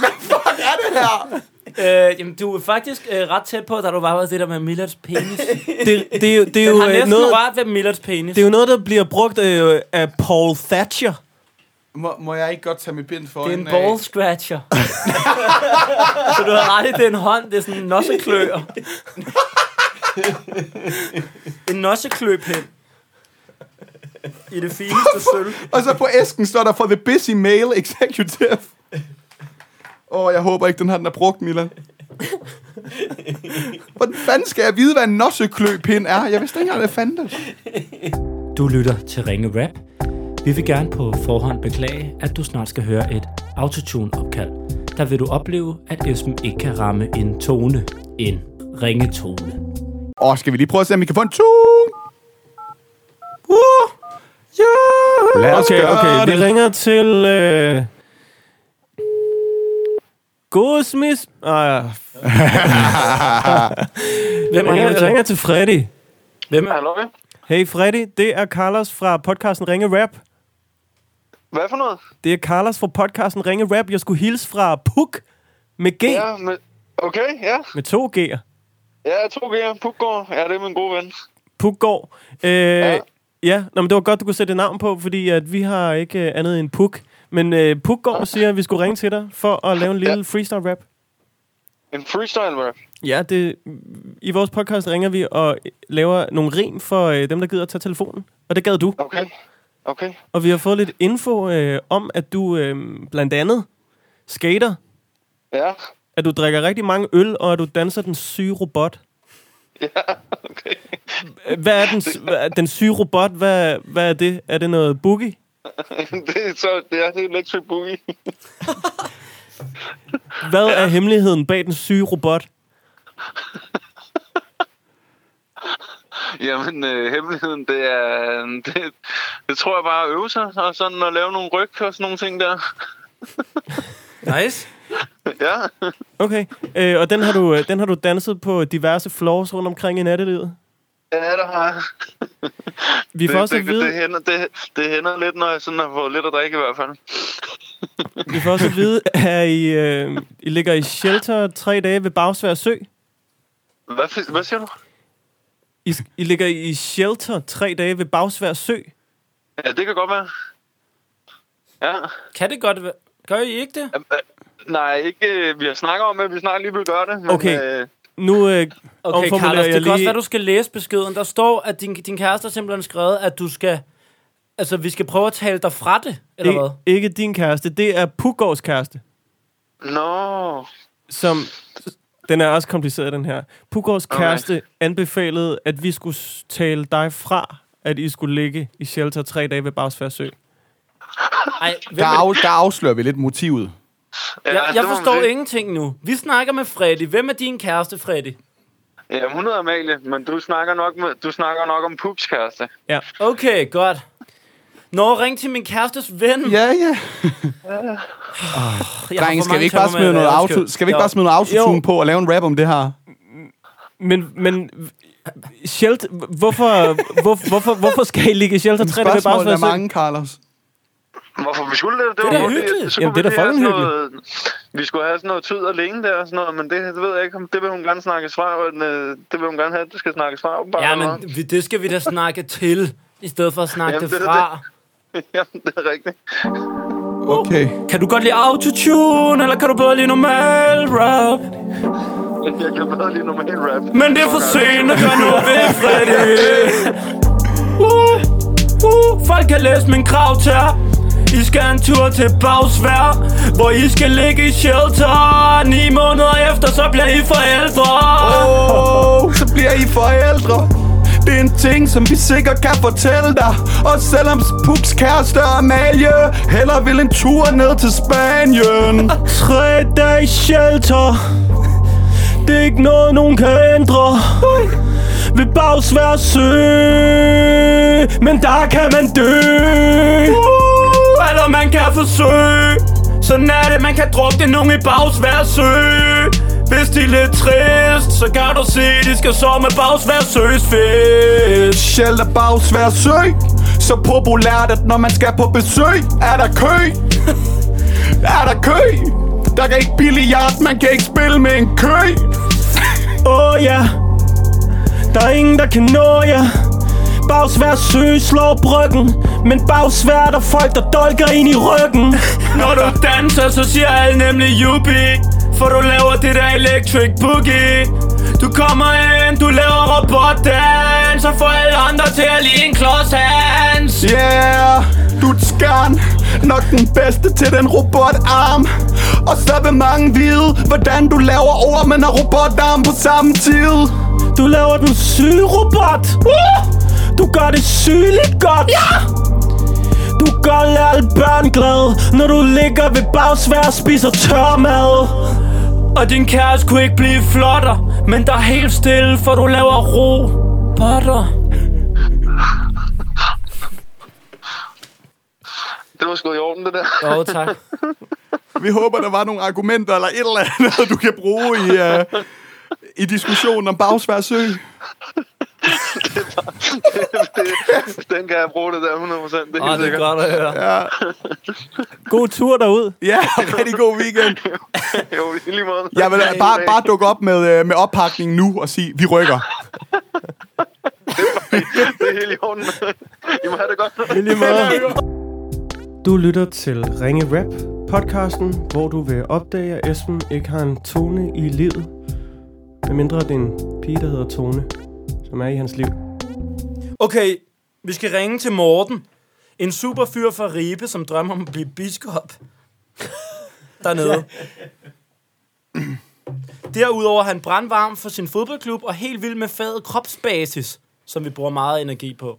Speaker 2: Hvad fuck er det her?
Speaker 1: Øh, jamen, du er faktisk øh, ret tæt på, da du var ved det der med Millards penis.
Speaker 3: Det, det, det, er jo- det er
Speaker 1: Du
Speaker 3: jo
Speaker 1: har
Speaker 3: øh,
Speaker 1: næsten
Speaker 3: noget,
Speaker 1: rørt ved Millards penis.
Speaker 3: det er jo noget, der bliver brugt øh, af Paul Thatcher.
Speaker 2: Må, må jeg ikke godt tage mit bind for øh,
Speaker 1: Det er en ball scratcher. så du har ret i, det er en hånd. Det er sådan en nosseklør. en nossekløpind. I det fineste sølv.
Speaker 2: Og så på æsken står der for The Busy Male Executive. Åh, oh, jeg håber ikke, den har den er brugt, Milan. Hvordan fanden skal jeg vide, hvad en nossekløpind er? Jeg vidste ikke engang, hvad fanden det.
Speaker 1: Du lytter til Ringe Rap. Vi vil gerne på forhånd beklage, at du snart skal høre et autotune-opkald. Der vil du opleve, at Esben ikke kan ramme en tone. En ringetone.
Speaker 2: Åh, oh, skal vi lige prøve at se, om vi kan få en tune? Uh, yeah. Lad os
Speaker 3: Okay,
Speaker 2: gøre
Speaker 3: okay.
Speaker 2: det.
Speaker 3: Vi ringer til... Øh... Gosmis... Ah,
Speaker 1: Hvem
Speaker 3: ringer,
Speaker 1: ringer
Speaker 3: jeg
Speaker 1: til?
Speaker 3: ringer til Freddy.
Speaker 1: Hvem er
Speaker 11: Hallo?
Speaker 3: Hey Freddy, det er Carlos fra podcasten Ringe Rap.
Speaker 11: Hvad for noget?
Speaker 3: Det er Carlos fra podcasten Ringe Rap. Jeg skulle hilse fra Puk med G, ja.
Speaker 11: Ja, men... Okay, ja.
Speaker 3: med to G'er.
Speaker 11: Ja, 2G, Pukgaard. Ja, det er min gode ven.
Speaker 3: Pukgaard. Øh, ja,
Speaker 11: Ja.
Speaker 3: ja. Nå, men det var godt, du kunne sætte et navn på, fordi at vi har ikke øh, andet end Puk. Men øh, Pukgaard siger, at vi skulle ringe til dig for at lave en lille freestyle rap.
Speaker 11: En freestyle rap.
Speaker 3: Ja, det, i vores podcast ringer vi og laver nogle rim for øh, dem, der gider at tage telefonen. Og det gad du.
Speaker 11: Okay. Okay.
Speaker 3: Og vi har fået lidt info øh, om, at du øh, blandt andet skater,
Speaker 11: Ja.
Speaker 3: at du drikker rigtig mange øl, og at du danser den syge robot.
Speaker 11: Ja, okay.
Speaker 3: Øh, Hvad er den, s- hvad er den syge robot? Hvad, hvad er det? Er det noget boogie?
Speaker 11: det er så... Det er, det er Electric Boogie.
Speaker 3: Hvad er hemmeligheden bag den syge robot?
Speaker 11: Jamen, øh, hemmeligheden, det er... Det, det tror jeg bare at øve sig, og sådan at lave nogle ryg og sådan nogle ting der.
Speaker 1: Nice.
Speaker 11: ja.
Speaker 3: Okay, øh, og den har, du, øh, den har du danset på diverse floors rundt omkring i nattelivet.
Speaker 11: Ja, der har jeg.
Speaker 3: Vi får
Speaker 11: det,
Speaker 3: også at
Speaker 11: det, det,
Speaker 3: vide,
Speaker 11: det, hænder, det, det hænder lidt, når jeg sådan har fået lidt at drikke i hvert fald.
Speaker 3: vi får også at vide at I, øh, I ligger i shelter tre dage ved Bagsvær Sø.
Speaker 11: Hvad, fi- hvad siger du?
Speaker 3: I, sk- I ligger i shelter tre dage ved Bagsvær Sø.
Speaker 11: Ja, det kan godt være. Ja.
Speaker 1: Kan det godt være? Gør I ikke det?
Speaker 11: Øhm, øh, Nej, ikke øh, vi har snakket om, at vi snart lige vil gøre det. Men,
Speaker 3: Okay.
Speaker 11: Øh,
Speaker 3: Nu øh,
Speaker 1: Okay,
Speaker 3: omformulerer
Speaker 1: Carlos, det
Speaker 3: jeg
Speaker 1: kan også
Speaker 3: lige-
Speaker 1: være, du skal læse beskeden. Der står, at din, din kæreste har simpelthen skrevet, at du skal... Altså, vi skal prøve at tale dig fra det, eller hvad?
Speaker 3: ikke, ikke din kæreste, det er Pugårds kæreste,
Speaker 11: Nå,
Speaker 3: som... Den er også kompliceret, den her. Pugårds kæreste anbefalede, at vi skulle s- tale dig fra, at I skulle ligge i shelter tre dage ved Bagsvær Sø.
Speaker 1: Ej, hvem
Speaker 2: Der,
Speaker 1: er
Speaker 2: af, der afslører vi lidt motivet.
Speaker 11: ja,
Speaker 1: Jeg, jeg
Speaker 11: det må man
Speaker 1: forstår
Speaker 11: sige.
Speaker 1: ingenting nu. Vi snakker med Freddy. Hvem er din kæreste, Freddy?
Speaker 11: Ja, hun hedder Amalie, men du snakker nok, med, du snakker nok om Pups kæreste.
Speaker 1: Okay, godt. Nå, ring til min kærestes ven. Ah, Jeg
Speaker 2: Ja, ja.
Speaker 1: har for
Speaker 2: Drenge, skal vi
Speaker 1: mange
Speaker 2: ikke bare
Speaker 1: tømmermænd,
Speaker 2: smide noget
Speaker 1: jeg
Speaker 2: auto,
Speaker 1: elsker.
Speaker 2: skal vi ikke
Speaker 1: Jo.
Speaker 2: bare smide noget
Speaker 3: Jo.
Speaker 2: autotune på og lave en rap om det her?
Speaker 3: Men, men shelter, hvorfor, hvor, hvorfor, hvorfor skal I ligge i shelter tre dage ved
Speaker 2: Spørgsmålet
Speaker 3: Bagsvær
Speaker 2: er
Speaker 3: Sø?
Speaker 2: mange, Carlos.
Speaker 11: Hvorfor vi skulle det? Det, var
Speaker 1: da
Speaker 11: fordi, at
Speaker 1: hyggeligt.
Speaker 11: så
Speaker 3: Jamen,
Speaker 11: kunne
Speaker 3: det er da
Speaker 11: vi lige
Speaker 3: fucking
Speaker 11: have sådan Noget, vi skulle have sådan noget tid alene der og sådan noget, men det, det ved jeg ikke, om det vil hun gerne snakke fra. Men, øh, det vil hun gerne have, at det skal snakkes fra. åbenbart,
Speaker 1: Ja,
Speaker 11: eller hvad?
Speaker 1: men vi, det skal vi da snakke til, i stedet for at snakke
Speaker 11: Jamen,
Speaker 1: det
Speaker 11: det er
Speaker 1: fra.
Speaker 11: Jamen, det er rigtigt.
Speaker 2: Okay.
Speaker 1: Kan du godt lide autotune, eller kan du bedre lide normal rap?
Speaker 11: Jeg kan bedre lige normal rap.
Speaker 1: Men det er for sent at gøre noget ved, Freddy. Uh, uh, folk kan læse min krav til jer. I skal en tur til Bagsvær, hvor I skal ligge i shelter. Ni måneder efter, så bliver I forældre.
Speaker 2: Oh, så bliver I forældre. Det er en ting, som vi sikkert kan fortælle dig. Og selvom Pups kæreste Amalie heller vil en tur ned til Spanien.
Speaker 3: Tre dage shelter Det er ikke noget, nogen kan ændre Ved Bagsvær Sø Men der kan man dø
Speaker 1: Uh, eller man kan forsøge. Sådan er det, man kan drukne nogen i Bagsvær sø. Hvis de er lidt trist, så kan du se, de skal sove med bagsvær søsfest.
Speaker 2: Shelter Bags hver sø Så populært, at når man skal på besøg Er der kø Er der kø Der kan ikke billiard, man kan ikke spille med en kø
Speaker 3: Åh oh, ja Der er ingen, der kan nå jer Bagsvær sø slår bryggen Men bagsvær der er folk, der dolker ind i ryggen
Speaker 1: Når du danser, så siger alle nemlig yuppie For du laver det der electric boogie Du kommer ind, du laver robotdans Og får alle andre til at lide en klodshands
Speaker 2: Yeah Du er et skarn Nok den bedste til den robotarm Og så vil mange vide Hvordan du laver ormen og robotarm på samme tid
Speaker 3: Du laver den syge robot uh! Du gør det sygeligt godt Ja Du gør alle børn glade Når du ligger ved bagsvær og spiser tør mad
Speaker 1: Og din kæreste kunne ikke blive flotter Men der er helt stille, for du laver ro Butter
Speaker 11: Det var sgu i orden, det der.
Speaker 1: Åh, oh, tak
Speaker 2: Vi håber, der var nogle argumenter eller et eller andet, du kan bruge i, uh, i diskussionen om Bagsvær Sø.
Speaker 11: det, den kan jeg bruge det der 100%. Det er
Speaker 1: Åh,
Speaker 11: helt
Speaker 1: det er
Speaker 11: sikkert.
Speaker 1: godt at høre
Speaker 3: God tur derud
Speaker 2: Ja, rigtig god weekend.
Speaker 11: jo, i lige måde.
Speaker 2: Jeg vil øh, bare, bare dukke op med, øh, med oppakningen nu og sige, vi rykker.
Speaker 11: Det er helt i orden. I må have det godt.
Speaker 3: Du lytter til Ringe Rap, podcasten, hvor du vil opdage, at Esben ikke har en tone i livet. Medmindre det er en pige, der hedder Tone, som er i hans liv.
Speaker 1: Okay, vi skal ringe til Morten. En superfyr fra Ribe, som drømmer om at blive biskop. Dernede. Derudover er han brandvarm for sin fodboldklub og helt vild med faget kropsbasis, som vi bruger meget energi på.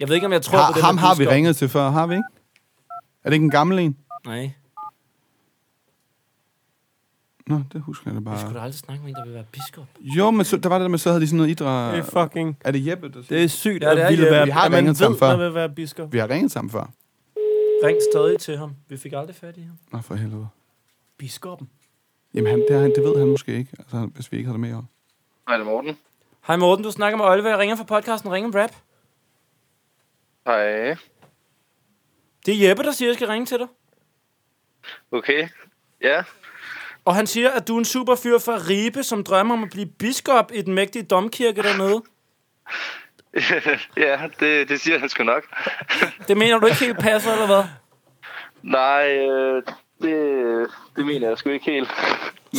Speaker 1: Jeg ved ikke, om jeg tror på
Speaker 2: Har,
Speaker 1: det
Speaker 2: ham
Speaker 1: med
Speaker 2: har vi
Speaker 1: biskop.
Speaker 2: ringet til før, har vi ikke? Er det ikke en gammel en?
Speaker 1: Nej,
Speaker 2: Nå, det husker jeg da
Speaker 1: jeg skulle
Speaker 2: bare.
Speaker 1: da aldrig snakke med en, der vil være biskop.
Speaker 2: Jo, men så, der var det der med, så havde de sådan noget idræt.
Speaker 3: Det er fucking...
Speaker 2: Er det Jeppe, der siger?
Speaker 3: Det er sygt,
Speaker 1: Ja,
Speaker 3: ja,
Speaker 1: det er
Speaker 3: at ville
Speaker 1: Jeppe.
Speaker 3: være...
Speaker 2: Vi har
Speaker 3: at man
Speaker 2: ringet til ham
Speaker 3: ved,
Speaker 2: før.
Speaker 3: der vil være biskop.
Speaker 2: Vi har ringet sammen før.
Speaker 1: Ring stadig til ham. Vi fik aldrig fat i ham.
Speaker 2: Nå, for helvede.
Speaker 1: Biskoppen.
Speaker 2: Jamen, han, det, har han, det ved han måske ikke, altså, hvis vi ikke har det med om.
Speaker 11: Hej, det er Morten.
Speaker 1: Hej Morten, du snakker med Oliver. Jeg ringer fra podcasten Ring en Rap.
Speaker 11: Hej.
Speaker 1: Det er Jeppe, der siger, at jeg skal ringe til dig.
Speaker 11: Okay. Ja.
Speaker 1: Og han siger, at du er en superfyr fra Ribe, som drømmer om at blive biskop i den mægtige domkirke dernede.
Speaker 11: ja, det, det siger han sgu nok.
Speaker 1: Det mener du ikke helt passer, eller hvad?
Speaker 11: Nej, øh, det, det mener jeg sgu ikke helt. Men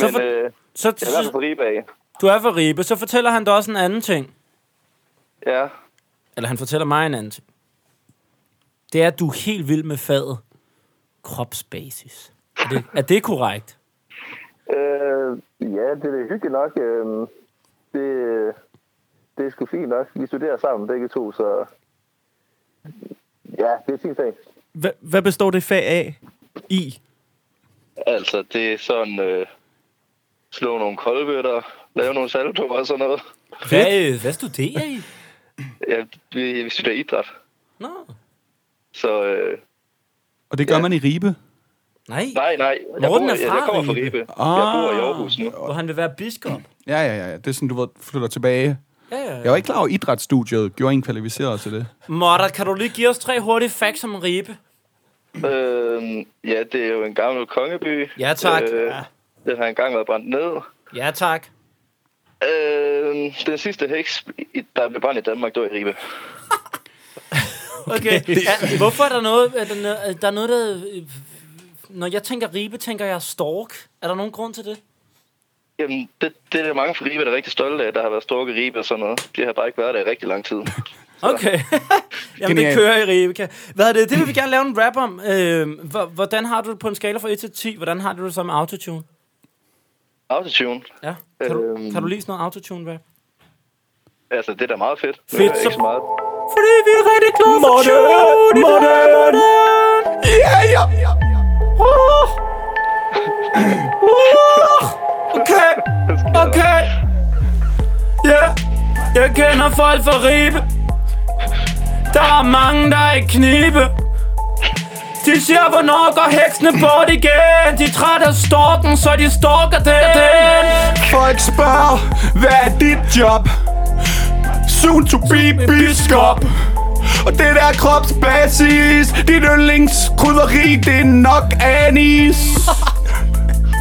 Speaker 1: Så for-
Speaker 11: øh,
Speaker 1: Så
Speaker 11: jeg er i hvert fald på Ribag.
Speaker 1: du er fra Ribe, så fortæller han dig også en anden ting.
Speaker 11: Ja.
Speaker 1: Eller han fortæller mig en anden ting. Det er, at du er helt vild med faget. Kropsbasis. Er det, er det korrekt?
Speaker 11: Øh, ja, det er da hyggeligt nok. Øh, det, det er sgu fint nok. Vi studerer sammen begge to, så... Ja, det er fint fag.
Speaker 3: Hva, hvad består det fag af? I?
Speaker 11: Altså, det er sådan... Øh, slå nogle kolbøtter, lave nogle saltoer og sådan noget.
Speaker 1: Hvad, øh, hvad studerer I?
Speaker 11: Ja, vi, vi studerer idræt,
Speaker 1: Nå,
Speaker 11: så... Øh,
Speaker 2: Og det gør man i Ribe.
Speaker 1: nej.
Speaker 11: nej, nej. Jeg,
Speaker 1: Morten
Speaker 11: bor,
Speaker 1: er
Speaker 11: jeg,
Speaker 1: fra
Speaker 11: jeg kommer fra
Speaker 1: Ribe.
Speaker 11: Ribe. Jeg bor i
Speaker 2: Ah.
Speaker 11: Aarhus nu.
Speaker 1: Hvor han vil være biskop.
Speaker 2: Ja, ja, ja, ja. Det er sådan, du ved, flytter tilbage.
Speaker 1: Ja, ja,
Speaker 2: Jeg
Speaker 1: ja.
Speaker 2: var ikke klar over, at idrætsstudiet gjorde en kvalificeret til det.
Speaker 1: Morten, kan du lige give os tre hurtige facts om Ribe?
Speaker 11: Øh, ja, det er jo en gammel kongeby.
Speaker 1: Ja, tak.
Speaker 11: Øh, Den har engang været brændt ned.
Speaker 1: Ja, tak.
Speaker 11: Øh, den sidste heks, i- der blev brændt i Danmark, det var i Ribe.
Speaker 1: Okay. Ja, hvorfor er der noget, er der, no- er der noget, der... øh, Når jeg tænker ribe, tænker jeg stork. Er der nogen grund til det?
Speaker 11: Jamen, det, det er der mange fra Ribe, der er rigtig stolte af, at der har været storke i Ribe og sådan noget. De har bare ikke været der i rigtig lang tid.
Speaker 1: Okay. Jamen, det
Speaker 2: Genialt.
Speaker 1: kører i ribe. kan- Hvad er det? Det vil vi gerne lave en rap om. Øh, hvor- hvordan har du det på en skala fra 1 til 10? Hvordan har du det så med autotune?
Speaker 11: Autotune,
Speaker 1: Ja. Kan du,
Speaker 11: Øhm.
Speaker 1: kan du lide sådan noget autotune-rap?
Speaker 11: altså det er da meget fedt.
Speaker 1: Fedt, så-
Speaker 11: så... Ikke så meget.
Speaker 1: Fordi vi er rigtig glade for
Speaker 3: Morten!
Speaker 1: tune i dag,
Speaker 3: Morten!
Speaker 1: Morten!
Speaker 2: Ja, ja, ja, ja.
Speaker 1: Okay, okay. Ja, jeg kender folk fra Ribe. Der er mange, der er i knibe. De siger, hvornår går heksene bort igen De er trætte af storken, så de stalker den
Speaker 2: Folk spørger, hvad er dit job? Soon to be biskop Og det der kropsbasis Dit yndlingskrydderi, det er nok anis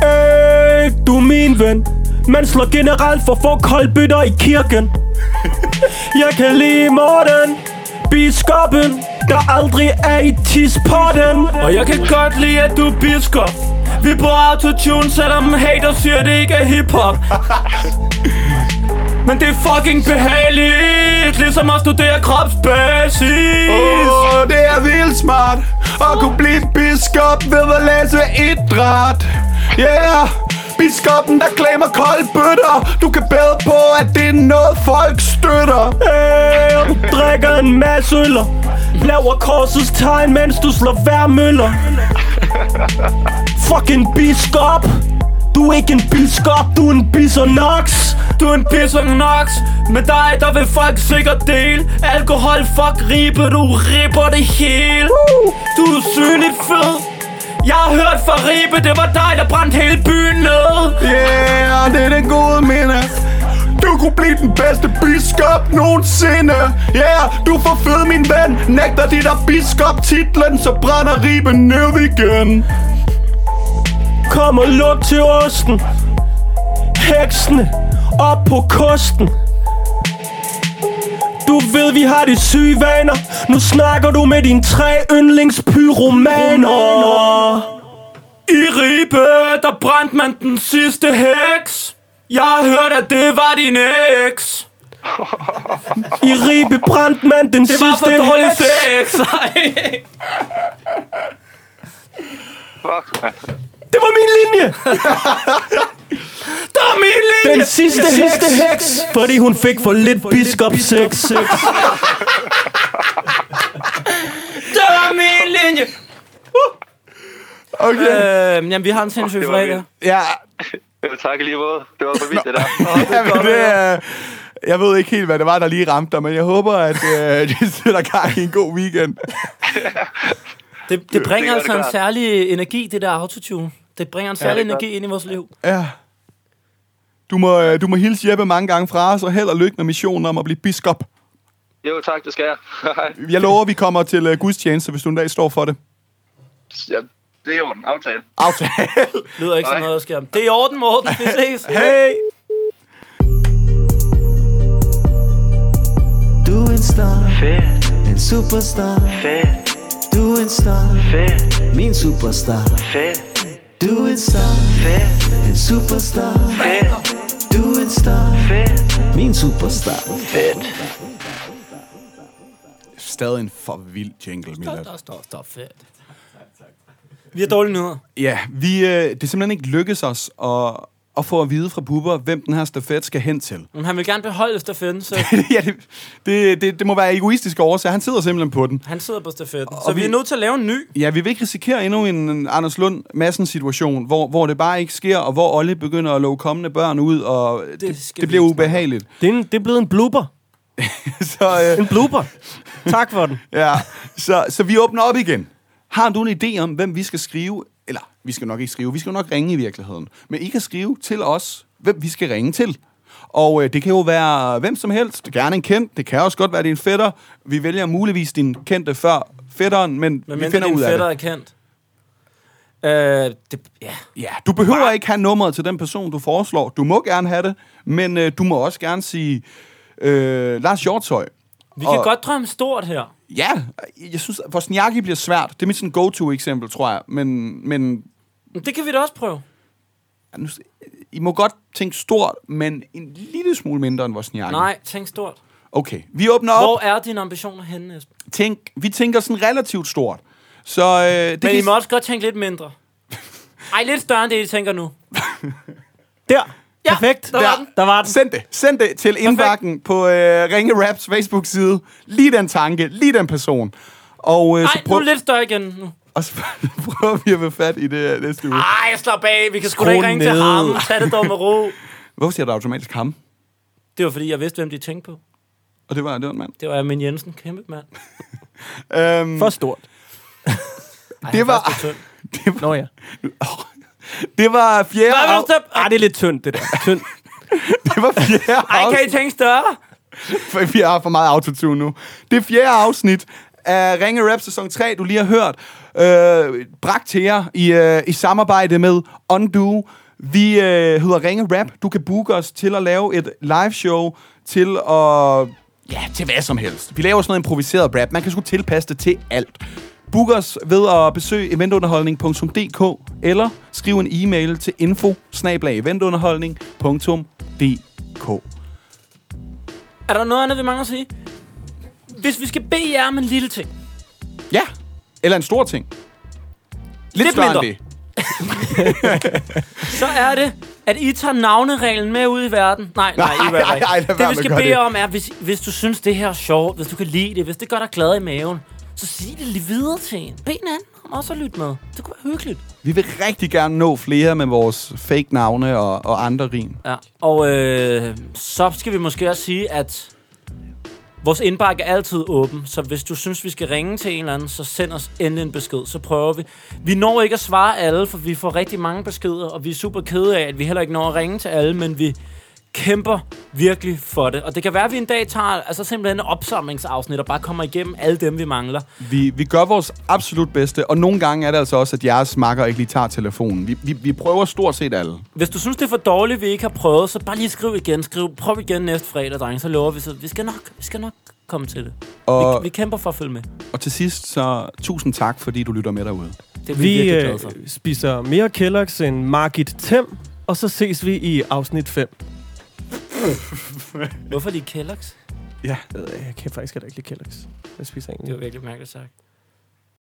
Speaker 3: Hey, du er min ven Man slår generelt for få koldbøtter i kirken Jeg kan lide Morten Biskoppen Der aldrig er i tispotten
Speaker 1: Og jeg kan godt lide, at du er biskop Vi bruger autotune, selvom hater siger, det ikke er hiphop Men det er fucking behageligt Ligesom at studere kropsbasis
Speaker 2: Åh, oh, det er vildt smart At kunne blive biskop ved at læse idræt Yeah Biskoppen, der klemmer kolde bøtter Du kan bede på, at det er noget, folk støtter
Speaker 3: Hey, og du drikker en masse øl og Laver korsets tegn, mens du slår hver møller Fucking biskop Du er ikke en biskop, du er en bisonox
Speaker 1: Du er en pisser nox Med dig, der vil folk sikkert dele Alkohol, fuck ribe, du ripper det hele Du er synligt fed Jeg har hørt fra Ribe, det var dig, der brændte hele byen ned
Speaker 2: Yeah, det er den gode minde Du kunne blive den bedste biskop nogensinde Yeah, du er for fed, min ven Nægter de der biskop titlen Så brænder riben ned igen
Speaker 3: Kom og luk til osten Heksene op på kosten Du ved, vi har de syge vaner Nu snakker du med dine tre yndlingspyromaner
Speaker 1: I Ribe, der brændte man den sidste heks Jeg har hørt, at det var din eks
Speaker 3: I Ribe brændte man den
Speaker 1: Det
Speaker 3: sidste
Speaker 1: var for dårlig
Speaker 3: heks.
Speaker 1: sex Ej.
Speaker 11: Fuck, mand.
Speaker 3: Det var min linje
Speaker 1: Der er min linje
Speaker 3: Den sidste heks, heks Fordi hun fik for lidt biskop sex
Speaker 1: Der er min linje
Speaker 2: Okay
Speaker 1: Øh, jamen, vi har en sindssyg
Speaker 11: det var
Speaker 1: fredag
Speaker 11: vildt.
Speaker 2: Ja,
Speaker 11: Øh, tak i lige måde. Det var for vildt, det der.
Speaker 2: ja men det er... Jeg ved ikke helt, hvad det var, der lige ramte dig, men jeg håber, at øh, det sætter gang i en god weekend.
Speaker 1: Det, det bringer
Speaker 11: gør
Speaker 1: altså
Speaker 11: det
Speaker 1: en
Speaker 11: klart.
Speaker 1: særlig energi, det der autotune. Det bringer en særlig
Speaker 11: det
Speaker 1: ja,
Speaker 11: gør
Speaker 1: energi ind i vores liv.
Speaker 2: Ja. Du må, øh, du må hilse Jeppe mange gange fra os, og held og lykke med missionen om at blive biskop.
Speaker 11: Jo, tak, det skal jeg. Hej.
Speaker 2: Jeg lover, vi kommer til øh, gudstjeneste, hvis du en dag står for det.
Speaker 11: ja, det er jo en aftale.
Speaker 2: Aftale.
Speaker 1: Lyder ikke som
Speaker 11: Nej.
Speaker 1: noget, der sker. Det er i orden, Morten. Vi ses.
Speaker 2: Hey!
Speaker 7: Du er en star,
Speaker 12: Fedt,
Speaker 7: en superstar.
Speaker 12: fedt,
Speaker 7: Du er en star,
Speaker 12: fedt,
Speaker 7: min superstar.
Speaker 12: fedt,
Speaker 7: Du er en star,
Speaker 12: fedt,
Speaker 7: en superstar.
Speaker 12: fedt,
Speaker 7: Du er en star,
Speaker 12: fedt,
Speaker 7: min superstar.
Speaker 12: fedt.
Speaker 2: Stadig en for vild jingle, Milad.
Speaker 1: Stop, stop, stop. Fedt. Vi har dårlige nyheder.
Speaker 2: Ja, vi, øh, det er simpelthen ikke lykkes os at, at få at vide fra Bubber, hvem den her stafet skal hen til.
Speaker 1: Men han vil gerne beholde stafetten, så
Speaker 2: ja, det, det, det, det må være egoistiske årsager. Han sidder simpelthen på den.
Speaker 1: han sidder på stafetten. Så
Speaker 2: vi-
Speaker 1: vi er nødt til at lave en ny.
Speaker 2: Ja, vi vil ikke risikere endnu en en Anders Lund Madsen situation, hvor, hvor det bare ikke sker, og hvor Olle begynder at love kommende børn ud, og det, det,
Speaker 1: skal
Speaker 2: det
Speaker 1: vi
Speaker 2: bliver
Speaker 1: ikke snakke
Speaker 2: ubehageligt.
Speaker 3: det, er en, det er blevet en blooper
Speaker 2: så, øh,
Speaker 3: En blooper Tak for den
Speaker 2: ja, så, så vi åbner op igen. Har du en idé om, hvem vi skal skrive? Eller, vi skal nok ikke skrive, vi skal nok ringe i virkeligheden. Men I kan skrive til os, hvem vi skal ringe til. Og øh, det kan jo være hvem som helst, gerne en kendt, det kan også godt være din fætter. Vi vælger muligvis din kendte før fætteren, men,
Speaker 1: Men
Speaker 2: men vi finder
Speaker 1: din
Speaker 2: ud af det.
Speaker 1: fætter er kendt. Øh, det, ja.
Speaker 2: Ja, du behøver ikke have nummeret til den person, du foreslår. Du må gerne have det, men øh, du må også gerne sige øh, Lars Hjortøj.
Speaker 1: Vi kan
Speaker 2: Og-
Speaker 1: godt drømme stort her.
Speaker 2: Ja, jeg synes, at Vosniaki bliver svært. Det er mit sådan go-to-eksempel, tror jeg. Men, men
Speaker 1: Men det kan vi da også prøve.
Speaker 2: ja, nu, I må godt tænke stort, men en lille smule mindre end Vosniaki.
Speaker 1: Nej, tænk stort.
Speaker 2: Okay, vi åbner op.
Speaker 1: Hvor er dine ambitioner henne, Esben?
Speaker 2: Tænk, vi tænker sådan relativt stort. Så øh, det
Speaker 1: Men
Speaker 2: kan
Speaker 1: I må også godt tænke lidt mindre. Ej, lidt større end det, I tænker nu.
Speaker 3: Der
Speaker 1: Ja,
Speaker 3: Perfekt
Speaker 1: der var den.
Speaker 3: Der var den
Speaker 2: Send det. Send det til indbakken på øh, Ringe Raps Facebook-side. Lige den tanke, lige den person. Og, øh,
Speaker 1: Ej,
Speaker 2: så
Speaker 1: nu
Speaker 2: prøv,
Speaker 1: er det lidt større igen nu.
Speaker 2: og så prøver vi at være fat i det øh, næste uge.
Speaker 1: Ej, slap af. Vi kan sgu
Speaker 2: Skru
Speaker 1: da ikke ringe til
Speaker 2: ned.
Speaker 1: ham. Tag det dog med ro.
Speaker 2: Hvorfor siger du automatisk ham?
Speaker 1: Det var, fordi jeg vidste, hvem de tænkte på.
Speaker 2: Og det var, det var en mand.
Speaker 1: Det var Amin Jensen, kæmpe mand.
Speaker 2: Øhm,
Speaker 3: For stort
Speaker 2: det var... Det var,
Speaker 3: Nå ja.
Speaker 2: det var fjerde...
Speaker 1: Hvad vil du
Speaker 2: af-
Speaker 1: tage?
Speaker 3: Ej, det er lidt tyndt, det der. Tyndt.
Speaker 2: Det var fjerde
Speaker 1: Ej, kan I
Speaker 2: afsnit.
Speaker 1: tænke større?
Speaker 2: For vi har for meget autotune nu. Det fjerde afsnit af Ringe Rap sæson 3, du lige har hørt, øh, bragt til jer i, øh, i samarbejde med Undo. Vi øh, hedder Ringe Rap. Du kan booke os til at lave et live show til at... Ja, til hvad som helst. Vi laver sådan noget improviseret rap. Man kan sgu tilpasse det til alt. Book os ved at besøge eventunderholdning.dk eller skriv en e-mail til info
Speaker 1: Er der noget andet, vi mangler at sige? Hvis vi skal bede jer om en lille ting.
Speaker 2: Ja. Eller en stor ting. Lidt,
Speaker 1: Lidt
Speaker 2: større
Speaker 1: mindre.
Speaker 2: end det.
Speaker 1: så er det, at I tager navnereglen med ud i verden. Nej, nej,
Speaker 2: Nej,
Speaker 1: I gør
Speaker 2: nej,
Speaker 1: ikke.
Speaker 2: nej, lad
Speaker 1: Det,
Speaker 2: være
Speaker 1: vi
Speaker 2: med
Speaker 1: skal
Speaker 2: at gøre
Speaker 1: bede
Speaker 2: det.
Speaker 1: om, er, hvis, hvis du synes, det her er sjovt, hvis du kan lide det, hvis det gør dig glad i maven, så sig det lige videre til en. Bed en anden om også at lytte med. Det kunne være hyggeligt.
Speaker 2: Vi vil rigtig gerne nå flere med vores fake navne og, og andre rim.
Speaker 1: Ja. Og øh, så skal vi måske også sige, at vores indbakke er altid åben, så hvis du synes, vi skal ringe til en eller anden, så send os endelig en besked, så prøver vi. Vi når ikke at svare alle, for vi får rigtig mange beskeder, og vi er super kede af, at vi heller ikke når at ringe til alle, men vi kæmper virkelig for det. Og det kan være, at vi en dag tager altså simpelthen en opsamlingsafsnit og bare kommer igennem alle dem, vi mangler.
Speaker 2: Vi, vi gør vores absolut bedste, og nogle gange er det altså også, at jeres makker ikke lige tager telefonen. Vi, vi, vi prøver stort set alle.
Speaker 1: Hvis du synes, det er for dårligt, vi ikke har prøvet, så bare lige skriv igen. Skriv, prøv igen næste fredag, dreng, så lover vi. Så vi skal nok, vi skal nok komme til det.
Speaker 2: Og-
Speaker 1: Vi, vi kæmper for at følge med.
Speaker 2: Og til sidst, så tusind tak, fordi du lytter med derude.
Speaker 1: Det er vi,
Speaker 3: Vi
Speaker 1: virkelig
Speaker 3: øh,
Speaker 1: glade for.
Speaker 3: spiser mere Kellogg's end Margit Tem, og så ses vi i afsnit 5.
Speaker 1: Hvorfor er de Kellogg's?
Speaker 3: Jeg kan faktisk heller ikke lide Kellogg's. Jeg spiser egentlig
Speaker 1: Det var virkelig mærkeligt sagt.